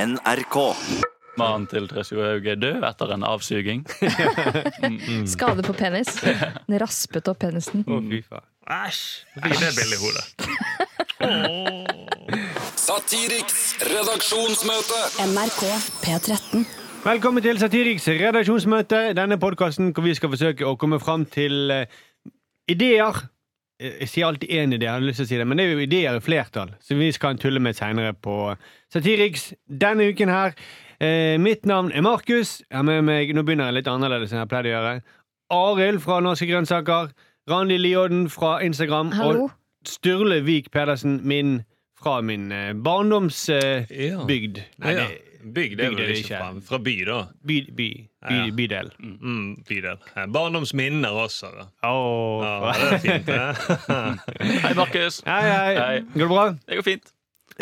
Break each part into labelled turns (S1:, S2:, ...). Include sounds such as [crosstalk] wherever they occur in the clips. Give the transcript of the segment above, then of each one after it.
S1: NRK.
S2: Mannen til Tresjo Haug er død etter en avsuging. Mm.
S3: Skade på
S2: [laughs]
S3: penis. Den raspet opp penisen.
S4: Å,
S5: Mm.
S4: fy faen. Æsj! Jeg fikk det bildet i hodet.
S6: Satiriks redaksjonsmøte.
S7: NRK P13.
S4: Velkommen til Satiriks redaksjonsmøte. Denne podkasten hvor vi skal forsøke å komme fram til eh, ideer. Eh, Jeg sier alltid én idé, jeg hadde lyst til å si det, men det er jo ideer i flertall, som vi skal tulle med seinere på Satiriks denne uken her. Eh, mitt navn er Markus. Jeg har med meg, Nå begynner jeg litt annerledes enn jeg pleide å gjøre. Arild fra Norske Grønnsaker. Randi Lioden fra Instagram.
S3: Hallo.
S4: Og Sturle Vik Pedersen, min fra min eh, barndoms... Eh,
S5: Ja.
S4: Bygd. Nei,
S5: Nei,
S4: det-
S5: ja. Bygd
S4: bygd er
S5: er vel
S4: det
S5: ikke
S4: ikke.
S5: fra, fra by, da.
S4: by, by, by,
S5: Ja.
S4: bydel.
S5: Mm, bydel. Eh, Barndomsminner også. Da.
S4: Åh.
S5: Ja, det er fint, [laughs] det.
S2: Hei, Markus.
S4: [laughs] Hei, hei.
S2: Hei.
S4: Går det bra?
S2: Det går fint.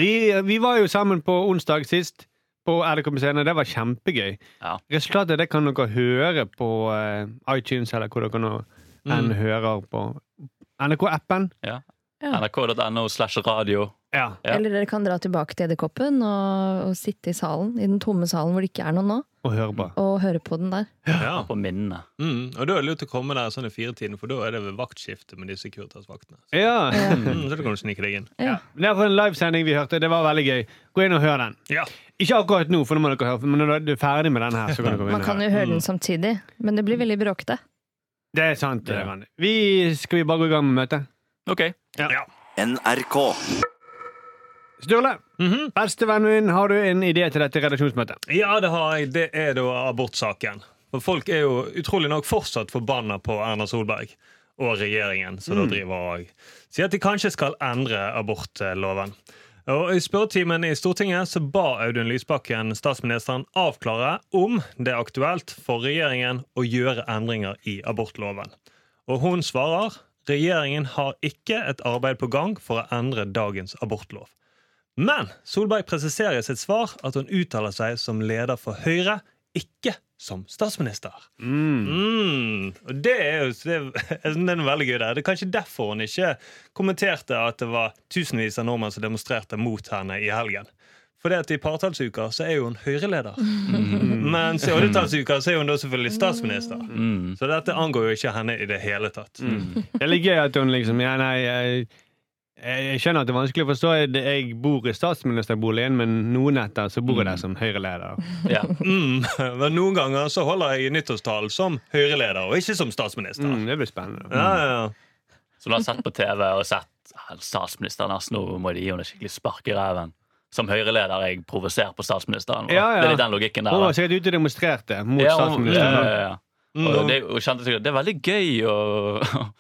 S4: Vi, vi var jo sammen på onsdag sist på RDK på scenen. Det var kjempegøy.
S2: Ja.
S4: Resultatet det kan dere høre på eh, iTunes eller hvor dere nå
S5: Mm.
S4: enn hører på. NRK-appen.
S2: NRK.no slash radio.
S4: Ja.
S2: Ja.
S3: Eller dere kan dra tilbake til Edderkoppen og, og sitte i salen, i den tomme salen hvor det ikke er noen nå,
S4: Og høre på.
S3: og høre på den der.
S5: Ja.
S2: På minnene.
S5: Mm, og da er det lurt å komme der sånn i firetiden, for da er det ved vaktskifte med de Securitas-vaktene. Så,
S4: Ja.
S5: mm, så da kan du snike deg inn.
S3: Ja.
S4: Det var en livesending vi hørte. Det var veldig gøy. Gå inn og hør den.
S5: Ja.
S4: Ikke akkurat nå, for nå må dere høre, men når du er ferdig med den her, så kan dere gå
S3: Man
S4: inn og
S3: kan
S4: høre.
S3: jo høre
S2: Mm.
S3: den samtidig, men det blir veldig bråkete.
S4: Det er sant.
S2: Ja.
S4: Randi. Vi skal vi bare gå i gang med møtet.
S2: Ok.
S1: NRK.
S4: Sturle,
S5: Mhm.
S4: bestevennen min, har du en idé til dette redaksjonsmøtet?
S5: ja, det har jeg. Det er da abortsaken. For folk er jo utrolig nok fortsatt forbanna på Erna Solberg og regjeringen, som da driver og sier at de kanskje skal endre abortloven. Og I spørretimen i Stortinget så ba Audun Lysbakken statsministeren avklare om det er aktuelt for regjeringen å gjøre endringer i abortloven. Og hun svarer regjeringen har ikke et arbeid på gang for å endre dagens abortlov. Men Solberg presiserer i sitt svar at hun uttaler seg som leder for Høyre, ikke som statsminister. Mm. Og det er jo det er, [laughs] det er noe veldig gøy der. Det er kanskje derfor hun ikke kommenterte at det var tusenvis av nordmenn som demonstrerte mot henne i helgen. Fordi at i partallsuker så er jo hun Høyre-leder. Mens i oddetallsuker så er hun da selvfølgelig statsminister.
S2: Mm.
S5: Så dette angår jo ikke henne i det hele tatt.
S4: Det er litt gøy at hun liksom Ja, nei, jeg, jeg skjønner at det er vanskelig å forstå. Jeg, jeg bor i statsministerboligen, men noen netter så bor jeg der som Høyre-leder.
S2: Ja.
S5: Mm. [laughs] Men noen ganger så holder jeg nyttårstalen som Høyre-leder, og ikke som statsminister.
S4: Mm, det blir spennende.
S5: Ja, ja, ja.
S2: Så du har sett på TV og sett "Ah, statsministeren ass, nå må de gi henne skikkelig spark i ræven. Som Høyre-leder er jeg provoserer på statsministeren. hva?
S4: Ja, ja.
S2: Det er litt den logikken
S4: Hun
S2: der. da.
S4: var sikkert ute og demonstrerte mot
S2: Ja, hun-
S4: statsministeren.
S2: ja, ja, ja.
S5: Mm.
S4: Mm.
S2: Og det, hun kjente sikkert, det er veldig gøy å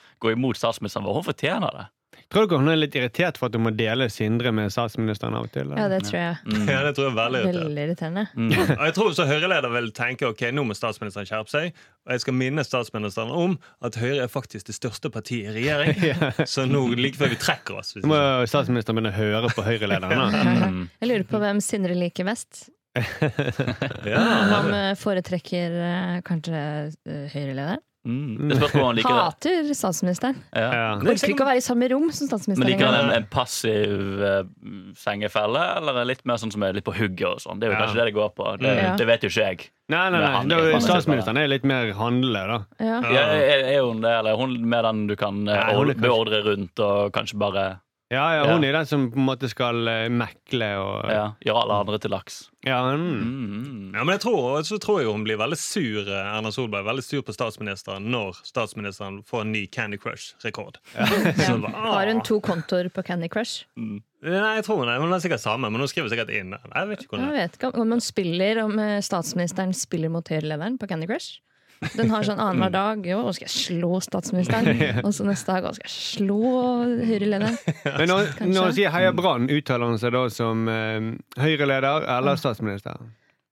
S2: [laughs] gå imot statsministeren vår. Hun fortjener det.
S4: Tror dere hun er litt irritert for at hun må dele Sindre med statsministeren av og til?
S3: Ja,
S4: eller?
S3: det tror jeg.
S4: Mm.
S2: Mm.
S5: [laughs] Ja, det tror jeg er veldig irriterende.
S3: Veldig irriterende.
S5: Og jeg tror også Høyre-leder vil tenke ok, nå må statsministeren skjerpe seg. Og jeg skal minne statsministeren om at Høyre er faktisk det største partiet i
S4: [laughs]
S5: regjering. Så nå like før vi trekker oss. Hvis
S4: Nå må
S5: ikke.
S4: statsministeren begynne å høre på Høyre-lederen. da.
S3: Jeg lurer på hvem Sindre liker best.
S5: Ja.
S3: Han eh, foretrekker eh, kanskje eh, Høyre-lederen.
S2: Mm. Det spørs hvordan han liker det.
S3: Hater statsministeren.
S2: Ja.
S4: Ja.
S3: Orker ikke å være i samme rom som
S2: Men
S3: statsministeren.
S2: liker
S3: engang.
S2: han en, en passiv eh, sengefelle, eller er litt mer sånn som er litt på hugget og sånn? Det er jo
S4: Ja.
S2: kanskje det det går på. Det,
S3: Ja.
S2: det vet jo ikke jeg.
S4: Nei, nei, nei.
S2: Men han-
S4: Da-
S2: han-
S4: Statsministeren er litt mer handlende, da.
S3: Ja.
S2: [laughs] Ja, er, er hun det, eller er hun med den du kan eh,
S4: Nei, hun er kanskje-
S2: beordre rundt og kanskje bare
S4: Ja, ja, Hun er den som på en måte skal eh, mekle og
S2: ja, gjøre alle andre til laks?
S4: Ja, mm.
S2: Mm.
S5: Ja, men jeg tror, og så tror jeg hun blir veldig sur eh, Erna Solberg, veldig sur på statsministeren når statsministeren får en ny Candy
S4: [laughs]
S5: Crush-rekord. Så bare, ah.
S3: Har hun to kontoer på Candy Crush?
S5: Nei, jeg tror hun er, hun er sikkert samme, men hun skriver sikkert inn. Nei, Jeg vet ikke hvor hun
S3: Jeg
S5: er.
S3: vet ikke om- om hun spiller Om eh, statsministeren spiller mot høyrelederen på Candy Crush. Den har sånn annenhver dag Jo, nå skal jeg slå statsministeren. Og så neste dag «Å, skal jeg slå høyrelederen.
S4: Men når,
S3: Kanskje.
S4: når hun sier Heia Brann, uttaler hun seg da som eh, Høyre-leder eller statsminister?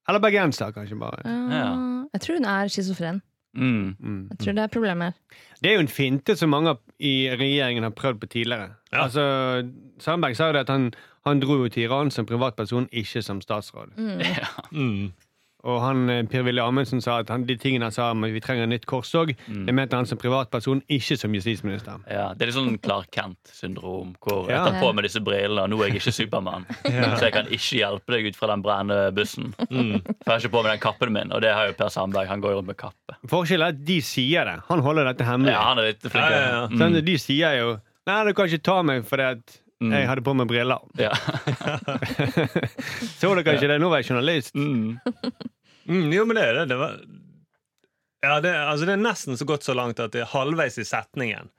S4: Eller bergenser, kanskje bare.
S3: Ja. Jeg tror hun er schizofren.
S2: Mm.
S3: Jeg tror det er problemet her.
S4: Det er jo en finte som mange i regjeringen har prøvd på tidligere.
S5: Ja.
S4: Altså, Sandberg
S3: Mm.
S4: sa jo det at han, han dro jo til Iran som privatperson, ikke som statsråd.
S5: Mm.
S4: Og han, eh, Per-Willy Amundsen sa at han, de tingene han sa om at vi trenger nytt korstog, det mente han som privatperson, ikke som justisminister.
S2: Ja, det er litt sånn Clark Kent-syndrom. Hvor
S4: Ja.
S2: jeg tar på meg disse brillene, og nå er jeg ikke
S4: [laughs]
S2: Supermann. Så jeg kan ikke hjelpe deg ut fra den brennende bussen.
S4: Mm.
S2: For jeg har ikke på meg den kappen min, og det har jo Per Sandberg. Han går jo rundt med kappe.
S4: Forskjellen er at de sier det. Han holder dette hemmelig.
S2: Ja, han er litt flink.
S5: Ja, ja, ja.
S4: Sånn, De sier jo 'Nei, du kan ikke ta meg fordi at
S2: Mm.
S4: jeg hadde på meg briller'.
S2: Ja. [laughs]
S4: Så dere ikke det? Nå var jeg journalist.
S2: Mm.
S5: Mm, jo, men det er det. det var ja, det, altså det er nesten så godt så langt at det er halvveis i setningen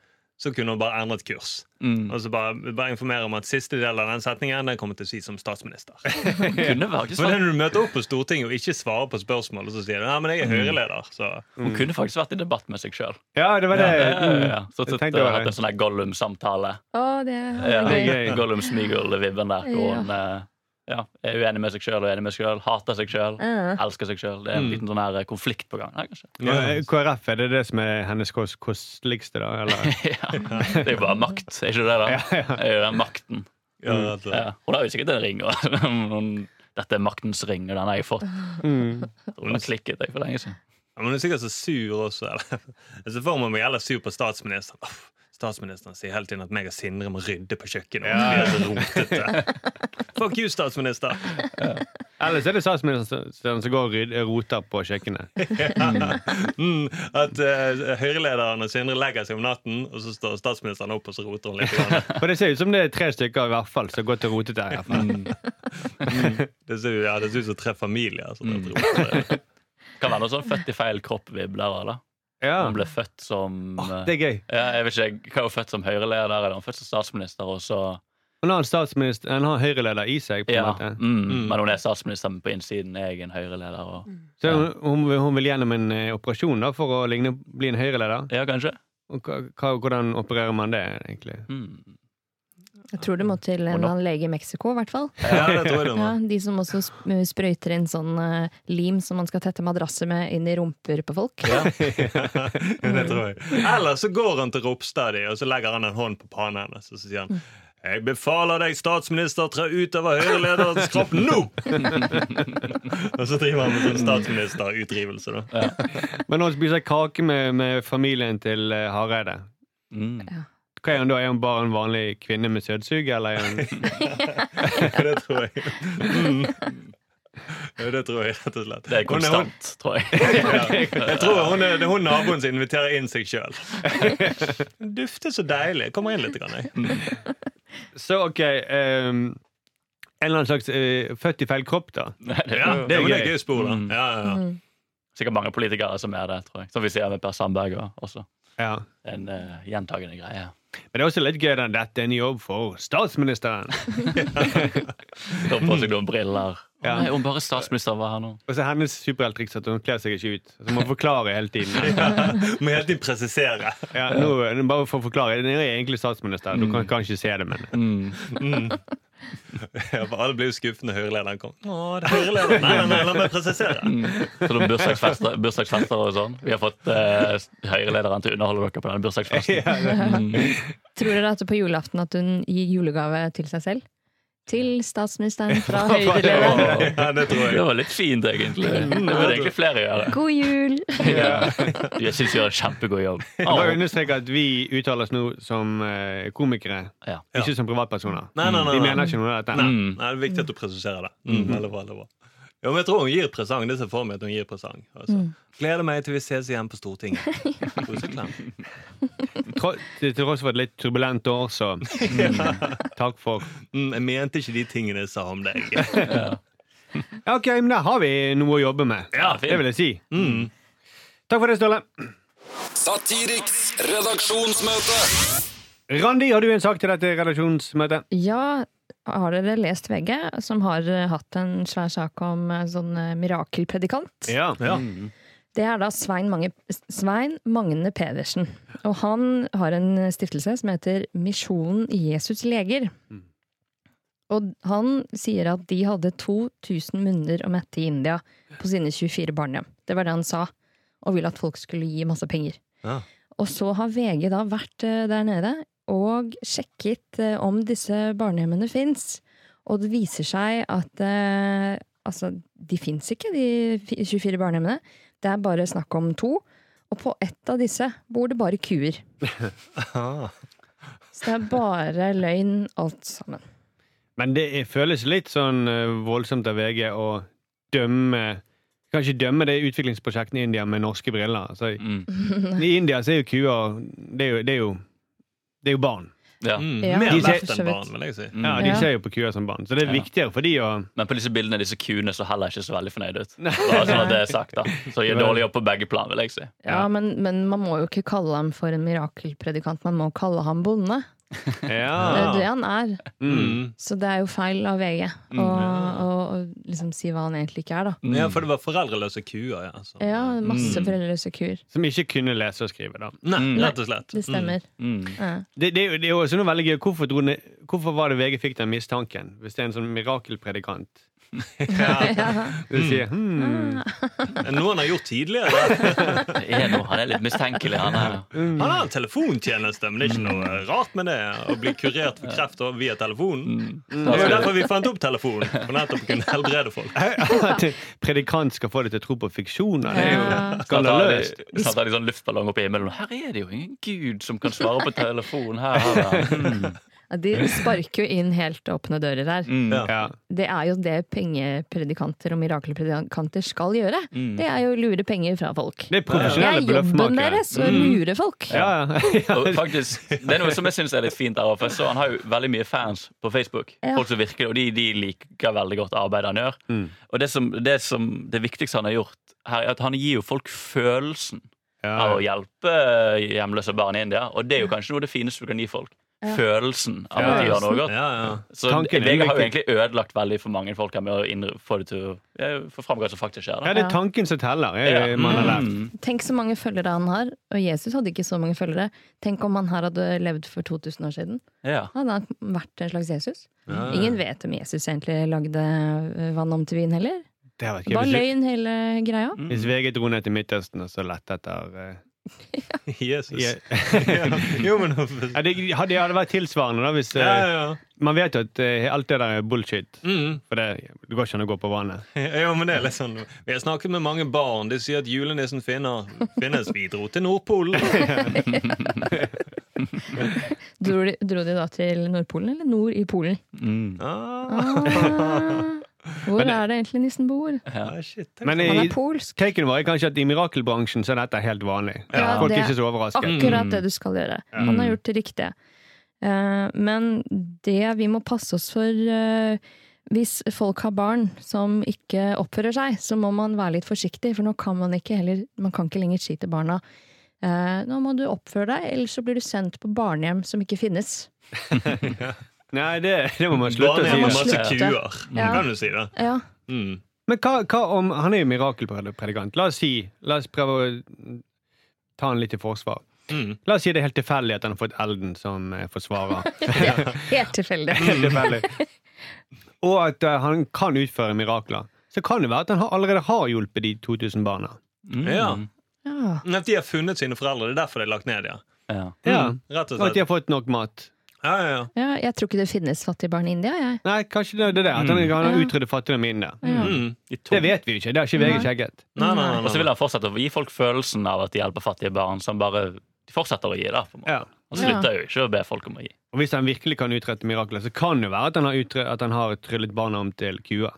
S5: så kunne hun bare endret kurs.
S2: Mm.
S5: Og så bare, bare informere om at siste del av den setningen den kommer til å si som statsminister.
S2: Kunne faktisk
S5: For det er
S2: vært,
S5: når du møter opp på Stortinget og ikke svarer på spørsmål, og så sier du ja, men jeg er Høyre-leder. Så
S2: hun kunne faktisk vært i debatt med seg sjøl.
S4: Ja, det var det.
S2: Ja, ja, ja,
S4: Mm.
S2: ja. Så
S4: Jeg
S2: jeg
S4: tenkte over
S2: hatt
S4: det.
S2: en sånn her Gollum-samtale.
S3: Å, det er
S2: Ja.
S3: gøy.
S4: gøy.
S2: Gollum Smigel-vibben der, hvor hun eh, ja, er uenig med seg sjøl og enig med seg sjøl. Hater seg sjøl,
S3: Ja.
S2: elsker seg sjøl. Det er en
S4: Mm.
S2: liten sånn her eh, konflikt på gang. Nei,
S4: [laughs]
S2: kanskje.
S4: Ja, KrF, er det det som er hennes kos- kosteligste, da?
S2: [laughs]
S4: Eller?
S2: Ja. Det er jo bare makt, er ikke det? da? Det er jo den makten.
S5: ja, at,
S2: Mm. Ja. Hun har jo sikkert en ring. og- [laughs] hun- Dette er maktens ring, og den har jeg fått.
S4: Mm.
S2: Jeg tror Hun har klikket deg for lenge siden.
S5: ja, men du er sikkert så sur også. Eller? [laughs] Jeg ser for meg meg heller sur på statsministeren. Uff, Statsministeren sier hele tiden at meg og Sindre må rydde på kjøkkenet. og vi er så rotete. Fuck you, statsminister!
S4: Ellers er det statsministeren som går og ryd- roter på
S2: [laughs]
S4: kjøkkenet.
S5: Mm, at eh, Høyre-lederen og Sindre legger seg om natten, og så står statsministeren opp og så roter hun litt. grann.
S4: For det ser ut som det er tre stykker i hvert fall som går til rotet der. i hvert fall.
S2: Mm.
S5: Det ser, jo- ja, det ser ut som tre familier. Som mm. roter.
S2: Kan være noe sånn født i feil kropp-vibb der òg.
S4: Ja.
S2: Hun ble født som eh,
S4: Det er gøy.
S2: ja, jeg vet ikke, Hva er hun født som Høyre-leder? Eller hun er født som statsminister? Og så,
S4: Hun har en statsminister, han har en høyreleder i seg. på en
S2: ja,
S4: måte.
S2: mm, men hun er statsminister, men på innsiden er jeg en Høyre-leder. Og,
S4: Så hun, hun, vil- hun vil gjennom en eh, operasjon da, for å ligne, bli en høyreleder.
S2: ja, kanskje?
S4: Og hva- hva- Hvordan opererer man det, egentlig?
S2: Mm.
S3: Jeg tror det må til en eller annen lege i Mexico, i hvert fall.
S5: Ja, det tror jeg det må.
S3: Ja, de som også sp- sprøyter inn sånn eh, lim som man skal tette madrasser med, inn i rumper på folk.
S5: det tror jeg. Eller så går han til Ropstad, og så legger han en hånd på panen hennes, og så sier han jeg befaler deg, statsminister, tre ut av Høyre-lederens kropp nå! og så driver han med sånn statsministerutdrivelse, da.
S4: Men hun spiser kake med, med familien til eh, Hareide.
S2: Mm.
S4: Hva er hun da? Er hun bare en vanlig kvinne med søtsug, eller er
S5: [laughs]
S4: hun
S5: Det tror jeg. Mm. Ja, Det tror jeg, rett og slett.
S2: Det er
S5: Hun hun-
S2: konstant, tror jeg. [laughs]
S5: Ja. [laughs] Jeg tror hun, er, det er hun naboen som inviterer inn seg sjøl. [laughs] Dufter så deilig. Jeg Kommer inn litt. Grann,
S4: Mm.
S5: jeg.
S4: Så OK ehm, En eller annen slags eh, født i feil kropp, da.
S5: Ja,
S4: det
S5: det
S4: er
S5: er
S4: gøy. Mm.
S5: gøy spor, da. Ja, ja, ja.
S2: Sikkert mange politikere som er det, tror jeg. Som vi ser med Per Sandberg og- også.
S4: Ja.
S2: En eh, gjentagende greie.
S4: Men det er også litt gøy at dette er en jobb for statsministeren.
S2: Tar på seg noen briller. Å
S4: Ja.
S2: Nei, om bare statsministeren var her nå.
S4: Og så er hennes superhelttriks at hun kler seg ikke ut. Så må hun forklare hele tiden.
S5: [laughs] Må hele tiden presisere. [laughs]
S4: Ja, nå, bare for å forklare, Den er egentlig statsminister. Du kan, kan ikke se det, men
S5: Ja, for alle blir jo skuffet når høyrelederen kom. Å, det er høyrelederen. Nei, nei, nei, la meg
S4: Mm.
S5: presisere.
S2: Så noen bursdagsfester, bursdagsfester og sånn. Vi har fått eh, Høyre-lederen til å underholde dere på denne
S4: [laughs]
S2: bursdagsfesten.
S3: Tror dere at på julaften at hun gir julegave til seg selv? Til statsministeren fra Høyre-lederen.
S2: Åh,
S5: [laughs] Ja, det tror jeg.
S2: Det var litt fint, egentlig. Det burde egentlig flere gjøre.
S3: God jul!
S2: Jeg syns vi gjør en kjempegod jobb.
S4: Jeg bare
S2: Åh,
S4: understreker at vi uttaler oss nå som eh, komikere,
S2: Ja.
S4: ikke som privatpersoner.
S5: Nei, nei, nei,
S4: Vi
S5: nei.
S4: mener ikke noe av dette.
S5: Nei, det er viktig at du presiserer det. Mm, veldig bra, veldig bra. Ja, men jeg tror hun gir presang. Det ser jeg for meg at hun gir presang. Altså. Gleder meg til vi ses igjen på [laughs] Stortinget. Koseklem.
S4: Tro- Til til tross for et litt turbulent år, så
S2: [laughs]
S4: mm, takk for
S5: Mm, jeg mente ikke de tingene jeg sa om [laughs] deg.
S4: Ja, Ok, men da har vi noe å jobbe med.
S2: Ja, fint. Mm.
S4: det vil jeg si. Takk for det, Ståle.
S6: Satiriks redaksjonsmøte.
S4: Randi, har du en sak til dette redaksjonsmøtet?
S3: Ja, har dere lest VG, som har eh, hatt en svær sak om eh, sånn eh, mirakelpredikant?
S4: Ja.
S3: Det er da Svein, Mange, Svein Magne Pedersen. Og han har en stiftelse som heter Misjonen Jesus leger. Og han sier at de hadde 2000 munner å mette i India på sine 24 barnehjem. Det var det han sa. Og ville at folk skulle gi masse penger.
S5: Ja.
S3: Og så har VG da vært eh, der nede og sjekket eh, om disse barnehjemmene fins. Og det viser seg at eh, altså, de fins ikke, de fi- 24 barnehjemmene. Det er bare snakk om to. Og på ett av disse bor det bare kuer. Så det er bare løgn alt sammen.
S4: Men det er, føles litt sånn eh, voldsomt av VG å dømme Kanskje dømme det utviklingsprosjektet i India med norske briller. Altså, i-
S2: Mm.
S4: I India så er jo kuer Det er jo, det er jo, det er jo barn.
S2: Ja.
S5: Mm,
S3: Ja,
S5: mer
S4: de ser-
S5: verdt enn barn, vil jeg si.
S4: Ja,
S2: Mm.
S4: De
S3: Ja.
S4: ser jo på kuer som barn, så det er
S2: Ja.
S4: viktigere for de å
S2: Men på disse bildene disse kuene så heller ikke så veldig fornøyd ut. Bare sånn at det er sagt da Så de gjør dårlig jobb på begge plan, vil jeg si.
S3: Ja, men, men man må jo ikke kalle ham for en mirakelpredikant, man må kalle ham bonde. Det er jo det
S4: Ja.
S3: han er.
S4: Ah. Mm.
S3: Så det er jo feil av VG å å- å liksom si hva han egentlig ikke er, da.
S4: Mm.
S5: Ja, for det var foreldreløse kuer. Ja, altså. så.
S3: Ja, masse foreldreløse kuer.
S4: Som ikke kunne lese og skrive, da.
S5: Nei, rett og slett.
S3: Det stemmer.
S2: Mm.
S3: Ja.
S4: Det, det, er jo- det er jo også noe veldig gøy. Hvorfor, dro den, hvorfor var det VG fikk den mistanken? Hvis det er en sånn mirakelpredikant. Du sier hmm.
S5: Mm. Noen har gjort tidligere.
S2: Det er noe, han er litt mistenkelig, han her.
S4: Mm.
S5: Han har en telefontjeneste, men det er ikke noe rart med det. Å bli kurert for kreft og via telefonen.
S4: Mm.
S5: Det er jo derfor vi fant opp telefonen. For nettopp å kunne helbrede folk.
S4: [laughs] At predikant skal få deg til å tro på fiksjoner. Det er
S3: Ja.
S4: jo
S2: Snart har de-
S4: skandaløst.
S2: snart har de sånn luftballong oppe i himmelen. Her er det jo ingen gud som kan svare på telefonen. Her, her, [laughs] her. Mm.
S3: Ja, De sparker jo inn helt åpne dører her.
S2: Mm.
S4: Ja.
S3: Det er jo det pengepredikanter og mirakelpredikanter skal gjøre. Det er jo å lure penger fra folk.
S4: Det er Mm.
S3: Det er
S4: profesjonelle
S3: jobben
S4: bløffmakere.
S3: deres å lure folk.
S4: Ja, [laughs] ja.
S2: Og faktisk, [laughs] det er noe som jeg synes er litt fint der. For jeg så han har jo veldig mye fans på Facebook.
S3: Ja.
S2: Folk som virker, Og de, de liker veldig godt arbeidet han gjør.
S4: Mm.
S2: Og det, som, det, som, det viktigste han har gjort her, er at han gir jo folk følelsen av å hjelpe hjemløse barn i India. Og det er jo kanskje noe av det fineste du kan gi folk. Følelsen av at de gjør noe godt.
S5: Ja, ja.
S2: Så
S4: Tanken er
S2: VG har jo
S4: viktig.
S2: egentlig ødelagt veldig for mange folk her med å innr- få det til å ja, få fram hva som faktisk skjer. Da.
S4: ja, det er tanken som teller. Er
S2: Ja.
S4: det man har lært.
S2: Mm.
S3: Tenk så mange følgere han har. Og Jesus hadde ikke så mange følgere. Tenk om han her hadde levd for 2000 år siden.
S2: Ja.
S3: Hadde han vært en slags Jesus? Ingen vet om Jesus egentlig lagde eh, vann om til vin heller.
S4: Det har vært
S3: Bare
S4: gøy.
S3: løgn hele greia.
S4: Hvis, hvis VG dro ned til Midtøsten og så lette etter eh,
S5: Jesus.
S4: ja.
S5: [laughs] Jo,
S4: [laughs]
S5: men
S4: Ja, det, hadde- det hadde vært tilsvarende, da. Hvis, eh,
S5: ja, ja.
S4: Man vet jo at eh, alt det der er bullshit.
S5: Mm.
S4: For det, det går ikke an å gå på vannet.
S5: Ja, men det er litt sånn Vi har snakket med mange barn. De sier at julenissen finner, finnes. Vi dro til
S4: [laughs]
S5: Nordpolen.
S3: Dro de, dro de da til Nordpolen, eller nord i
S4: [laughs]
S3: Polen?
S2: Mm.
S5: Ah,
S3: Ah, hvor
S4: Men det-
S3: er det egentlig nissen bor?
S5: Ah, shit,
S4: Men
S3: Han
S4: i,
S3: er polsk.
S4: taken var kanskje at i mirakelbransjen så er dette helt vanlig.
S3: Ja,
S4: Folk
S3: det-
S4: er ikke så overrasket.
S3: Akkurat det du skal gjøre. Han har gjort det riktige. Eh, Men det vi må passe oss for eh, Hvis folk har barn som ikke oppfører seg, så må man være litt forsiktig, for nå kan man ikke, heller, man kan ikke lenger si til barna eh, nå må du oppføre deg, ellers så blir du sendt på barnehjem som ikke finnes.
S4: Nei, det, det må man slutte
S5: Barnehjem
S4: å
S5: har
S4: si.
S3: må-
S5: masse
S3: Slutte.
S5: kuer.
S3: Ja.
S5: Kan du si det?
S3: Ja,
S5: Mm.
S4: Men hva, hva om Han er jo mirakelpredikant. La oss si La oss prøve å ta han litt i forsvar.
S5: Mm.
S4: La oss si det er helt tilfeldig at han har fått Elden som
S3: [laughs]
S4: eh, forsvarer. [laughs]
S3: det er Helt tilfeldig.
S4: Helt tilfeldig. Og at eh, han kan utføre mirakler. Så kan det være at han har, allerede har hjulpet de 2000 barna.
S2: Mm.
S5: Ja.
S3: Ja.
S5: Men At de har funnet sine foreldre. Det er derfor de er lagt ned, ja.
S2: Ja.
S4: Ja.
S5: Mm. Rett og
S4: Og at de
S5: slett.
S4: har fått nok mat.
S5: Ja, ja, ja.
S3: Ja, jeg tror ikke det finnes fattige barn i India, jeg.
S4: Nei, kanskje det er det. At han, han har
S3: Ja.
S4: utryddet fattigdom inne.
S3: Ja.
S5: Mm.
S2: De to
S4: Det vet vi jo ikke. Det har ikke VG sjekket.
S5: Nei, nei, nei,
S2: Og så
S5: nei.
S2: vil han fortsette å gi folk følelsen av at de hjelper fattige barn, som bare de fortsetter å gi. da på en måte.
S4: Ja.
S2: Han slutter jo ikke å be folk om å gi.
S4: Og hvis han virkelig kan utrette mirakler, så kan det være at han har, utre, at han har tryllet barna om til kuer.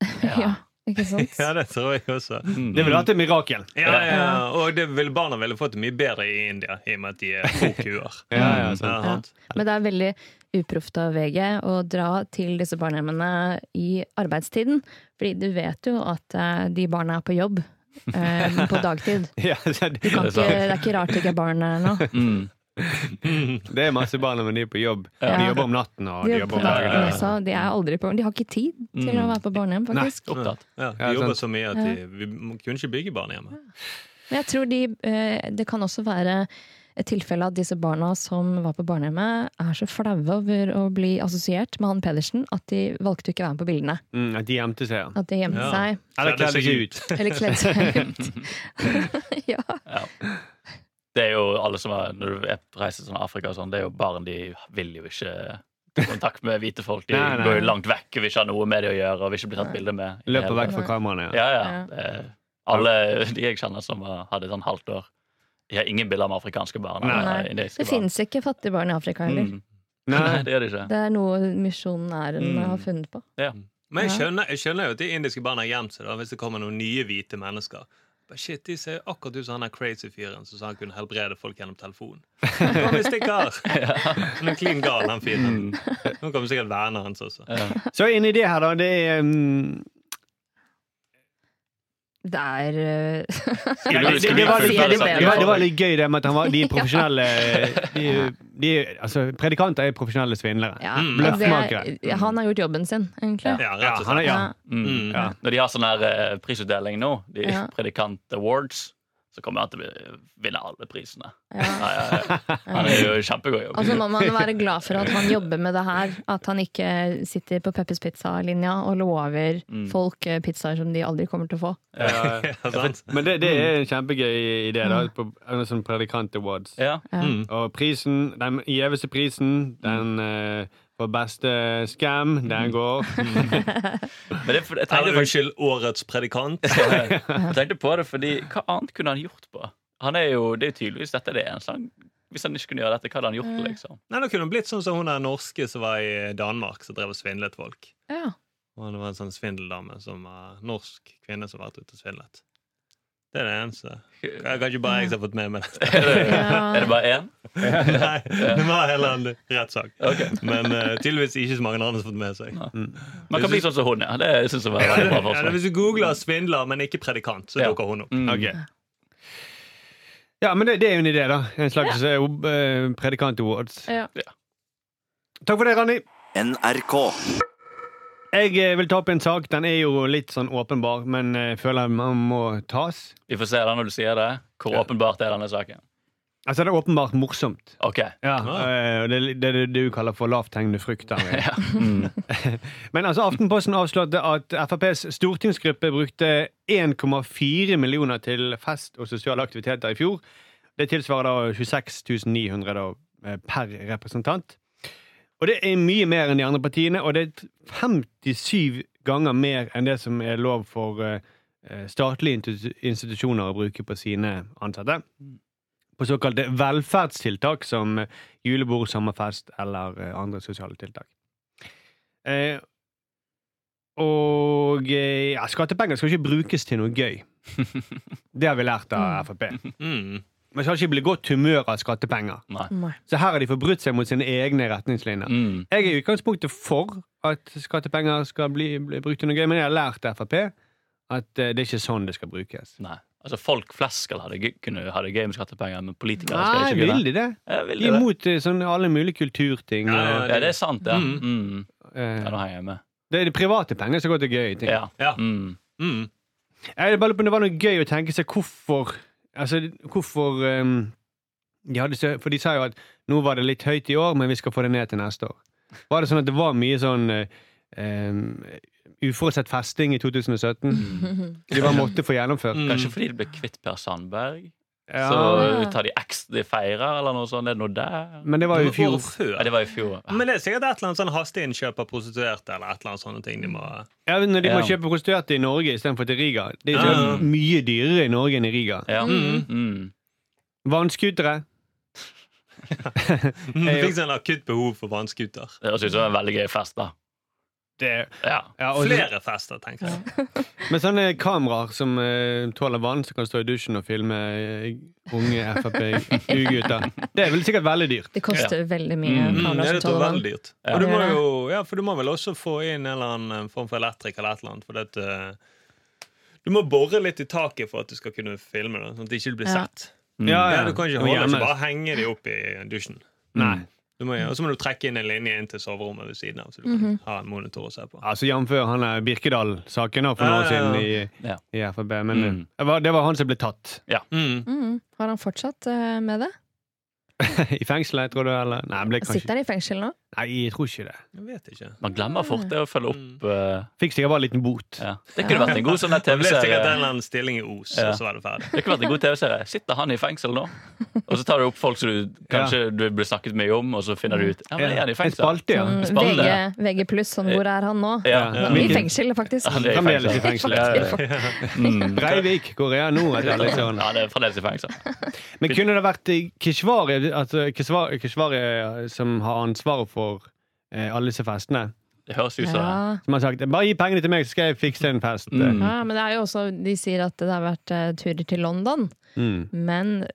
S3: [laughs] Ja, ikke sant?
S5: Ja, det tror jeg også.
S4: Det ville vært et mirakel.
S5: Ja, ja, ja. Og det vil, barna ville fått det mye bedre i India, i og med at de er få kuer.
S4: Ja, ja,
S2: Mm.
S5: Ja,
S4: sant.
S5: sant?
S3: Men det er veldig uproft av VG å dra til disse barnehjemmene i arbeidstiden. Fordi du vet jo at eh, de barna er på jobb eh, på dagtid.
S4: [laughs] Ja, så det,
S3: Kan
S2: Det er sant.
S3: ikke, det er ikke rart det ikke er barn her nå.
S2: Mm.
S4: det er masse barn når de er på jobb. De
S3: Ja.
S4: jobber om natten og
S3: De,
S4: de
S3: er på
S4: jobber om
S3: dagtid
S4: dagen.
S3: også. de er aldri på De har ikke tid til å være på barnehjem,
S4: Mm.
S3: faktisk.
S2: Opptatt.
S5: Ja,
S4: Ja,
S5: de jobber
S4: sant.
S5: så mye at de, vi kunne ikke bygge barnehjemmet.
S3: Men jeg tror de eh, Det kan også være et tilfelle at disse barna som var på barnehjemmet, er så flaue over å bli assosiert med han Pedersen at de valgte å ikke være med på bildene.
S4: Mm, at de gjemte seg. ja.
S3: At de gjemte
S5: Ja.
S3: seg.
S4: Eller
S5: Kledde
S4: kledde
S5: seg
S4: seg ut.
S3: Eller kledd seg ut. [laughs] ja.
S2: Det er jo alle som er, Når du er på reise til sånn Afrika, og sånn, det er jo barn de vil jo ikke kontakt med hvite folk. De
S4: [laughs] Nei, nei.
S2: går jo langt vekk og vil ikke ha noe med det å gjøre. Og vil ikke bli tatt bilde med. i det
S4: Løper
S2: hele
S4: vekk fra kameraene. Ja.
S2: Ja, ja. Det- Alle de jeg kjenner som uh, hadde sånn halvt år, de har ingen bilder med afrikanske barn.
S4: Nei.
S2: eller
S3: Nei,
S2: indiske
S3: Det
S2: barn.
S3: fins ikke fattige barn i Afrika heller.
S2: Mm. Nei,
S4: Nei.
S2: det gjør de ikke.
S3: Det er noe misjonæren
S2: Mm.
S3: har funnet på.
S2: Ja.
S5: Men jeg
S3: Ja.
S5: skjønner, jeg skjønner jo at de indiske barna har gjemt seg da, hvis det kommer noen nye hvite mennesker. Bare shit, De ser akkurat ut som han der crazy fyren som sa han kunne helbrede folk gjennom telefonen. Kom, vi stikker! Han er klin gal, han fyren.
S2: Mm.
S5: Nå kommer sikkert vennene hans også.
S2: Ja.
S4: Så inni det her, da. Det er mm,
S3: Det er eh, [laughs]
S2: Ja, du
S4: det, det,
S2: skal
S4: det, var
S2: bli
S4: litt,
S2: fullført,
S4: det,
S2: sant?
S3: sånn.
S4: var, det var litt gøy, det med at han var, de [laughs] er profesjonelle de, de, altså, Predikanter er profesjonelle svindlere.
S3: ja,
S5: Mm.
S3: men det
S4: Bløffmakere.
S3: er- Han har gjort jobben sin, egentlig.
S5: Ja,
S4: Ja,
S5: rett og
S4: han er,
S5: slett.
S4: ja.
S2: Mm.
S5: Ja.
S2: Når de har sånn her eh, prisutdeling nå, de
S3: Ja.
S2: Predikant Awards, så kommer han til å bli- vinne alle prisene.
S3: Ja.
S2: Ja, ja,
S3: [laughs]
S2: ja. Han er jo kjempegod jobb.
S3: Altså må man være glad for at han jobber med det her. At han ikke sitter på Peppers Pizza-linja og lover
S2: Mm.
S3: folk eh, pizzaer som de aldri kommer til å få.
S5: [laughs] Ja, sant?
S4: Men det, det er en kjempegøy idé, da. På, en sånn Predikant Awards.
S2: Ja.
S3: Ja.
S5: Mm.
S4: Og prisen, den gjeveste prisen, den eh, for beste scam, den går
S2: Men det, er for- jeg,
S5: Eller
S2: tenkte faktisk,
S5: unnskyld, årets predikant.
S2: jeg tenkte på det, fordi hva annet kunne han gjort på? Han er jo, det er jo tydeligvis dette det eneste han Hvis han ikke kunne gjøre dette, hva hadde han gjort? liksom?
S5: [laughs] Nei, Det kunne blitt sånn som hun der norske som var i Danmark, som drev og svindlet folk.
S3: Ja.
S5: Og det var en sånn svindeldame som var norsk kvinne som har vært ute og svindlet. Det er det eneste. Jeg kan ikke bare jeg som har fått med meg dette.
S2: Er det bare én?
S5: Nei, det var heller en rettssak.
S2: Ok.
S5: Men eh, tydeligvis ikke så mange andre som har fått med seg.
S2: Man kan bli sånn som hun, ja. Det synes jeg var et
S5: Ja,
S2: veldig bra
S5: det-
S2: forslag.
S5: hvis du googler 'svindler, men ikke predikant', så
S2: Ja.
S5: dukker hun opp.
S2: Mm.
S4: Ok. Ja, men det, det er jo en idé, da. En slags eh, eh, Predikant Awards.
S3: Ja.
S4: Takk for det, Randi.
S1: NRK.
S4: Jeg eh, vil ta opp en sak. Den er jo litt sånn åpenbar, men eh, jeg føler man må tas.
S2: Vi får se da når du sier det. Hvor åpenbart er denne saken?
S4: Altså, det er åpenbart morsomt.
S2: Ok.
S4: Ja,
S5: Ah.
S4: eh, og Det er det, det du kaller for lavthengende frukt. Henrik.
S2: Ja. Mm.
S4: [laughs] Men altså, Aftenposten avslørte at FrPs stortingsgruppe brukte 1,4 millioner til fest og sosiale aktiviteter i fjor. Det tilsvarer da 26 900 da, eh, per representant. Og det er mye mer enn de andre partiene, og det er 57 ganger mer enn det som er lov for eh, eh, statlige institu- institusjoner å bruke på sine ansatte. På såkalte velferdstiltak som eh, julebord, sommerfest eller eh, andre sosiale tiltak. Eh, og eh, ja, skattepenger skal ikke brukes til noe
S2: [laughs]
S4: gøy. Det har vi lært av Frp.
S5: Mm.
S4: Man skal ikke bli i godt humør av skattepenger.
S3: Nei.
S4: Så her har de forbrutt seg mot sine egne retningslinjer.
S2: Mm.
S4: Jeg er i utgangspunktet for at skattepenger skal bli, bli brukt til noe gøy, men jeg har lært av Frp at eh, det er ikke sånn det skal brukes.
S2: Nei. Altså, folk flest skal ha det, gøy- kunne ha det gøy med skattepenger, men politikere
S4: Nei,
S2: skal ikke
S4: vil
S2: kunne.
S4: de det?
S2: Ja, vil
S4: De
S2: de
S4: er
S2: det?
S4: imot eh, sånn alle mulige kulturting.
S5: Ja,
S4: og,
S2: Ja, det er sant, ja.
S5: Mm.
S2: Mm.
S4: eh,
S2: Ja, nå henger jeg med.
S4: det er de private pengene som går til gøy ting.
S2: Ja.
S5: Ja.
S2: Mm.
S5: Mm.
S4: Jeg bare lurer på om det var noe gøy å tenke seg hvorfor Altså, hvorfor ehm, de hadde, så- For de sa jo at nå var det litt høyt i år, men vi skal få det ned til neste år. Var det sånn at det var mye sånn eh, ehm, uforutsett festing i 2017? De bare måtte få gjennomført.
S5: Mm.
S2: Kanskje fordi de ble kvitt Per Sandberg?
S4: Ja,
S2: Så tar de ekstra, de feirer eller noe sånt. Er det noe der?
S4: men det var jo i fjor.
S5: Året før.
S2: Ja, det var i fjor.
S5: Men det er sikkert et eller annet sånn hasteinnkjøp av prostituerte eller et eller annet sånne ting de må
S4: Ja, når de må
S2: Ja.
S4: kjøpe prostituerte i Norge istedenfor til Riga. Det er
S5: Ja.
S4: jo mye dyrere i Norge enn i Riga.
S2: Ja.
S5: Mm.
S2: Mm.
S4: Vannskutere.
S5: Fikk sånn akutt behov for vannskuter.
S2: Det høres ut som en veldig gøy fest, da.
S4: Det-
S2: Ja.
S4: Ja, og-
S5: Flere fester, tenker jeg.
S4: Med sånne kameraer som eh, tåler vann, som kan stå i dusjen og filme eh, unge Frp-gutter. Det er vel sikkert veldig dyrt.
S3: Det koster veldig mye.
S2: Mm,
S5: Mm,
S3: kamera
S5: ja,
S3: som
S5: det tror jeg
S3: tåler
S5: er
S3: vann.
S5: veldig dyrt.
S2: Ja.
S5: Og du må
S3: Ja.
S5: jo, ja, for du må vel også få inn en eller annen form for elektriker eller et eller annet. For det, at, eh, du må bore litt i taket for at du skal kunne filme, da, sånn at det ikke blir
S3: Ja.
S5: sett.
S2: Mm.
S5: Ja, du kan ikke, holde, ikke bare henge de opp i dusjen.
S2: Mm.
S4: Nei.
S5: Du må, og så må du trekke inn en linje inn til soverommet ved siden av, så du kan ha en monitor å se på.
S4: Altså Jf. han der Birkedal-saken da, for noen år
S5: Ja, ja,
S4: siden
S5: ja.
S4: i,
S2: Ja.
S4: i Frp. Men eh,
S2: Mm.
S4: det var, det var han som ble tatt. [laughs]
S5: Mm.
S3: Mm. Har han fortsatt eh, med det?
S4: I fengselet, tror du? Eller? Nei, han ble kanskje
S3: Sitter han i fengsel nå?
S4: Nei, jeg tror ikke det.
S5: Jeg vet ikke.
S2: Man glemmer fort det å følge opp. eh,
S4: Fikk sikkert bare en liten bot.
S2: ja. Det kunne vært en god sånn der
S5: Mm. [laughs] Det ble sikkert en
S2: TV-serie.
S5: eller annen stilling i Os,
S2: Ja.
S5: og så var det ferdig.
S2: Det kunne vært en god TV-serie. Sitter han i fengsel nå? Og så tar du opp folk som du kanskje du blir snakket mye om, og så finner du ut Ja, men er han i
S4: En
S2: fengsel?
S4: spalte, ja.
S3: Sånn
S2: Spalte. Eh,
S3: VG, VG pluss, sånn hvor er han nå?
S2: Ja. Mm.
S4: Ja.
S3: I fengsel, faktisk.
S2: Han er
S4: Fremdeles
S2: i
S4: i fengsel.
S2: fengsel. Ja, ja, ja. Mm.
S4: Breivik, hvor er han nå? etter alle disse årene?
S2: Ja, det er fremdeles i fengsel.
S4: Men kunne det vært eh, Keshvari, altså Keshvari, Keshvari eh, som har ansvaret for eh, alle disse festene,
S2: Det høres ut som det.
S3: Ja.
S4: som har sagt 'bare gi pengene til meg, så skal jeg fikse en fest'? eh.
S2: Mm.
S3: Ja, men det er jo også, De sier at det har vært eh, turer til London,
S4: Mm.
S3: men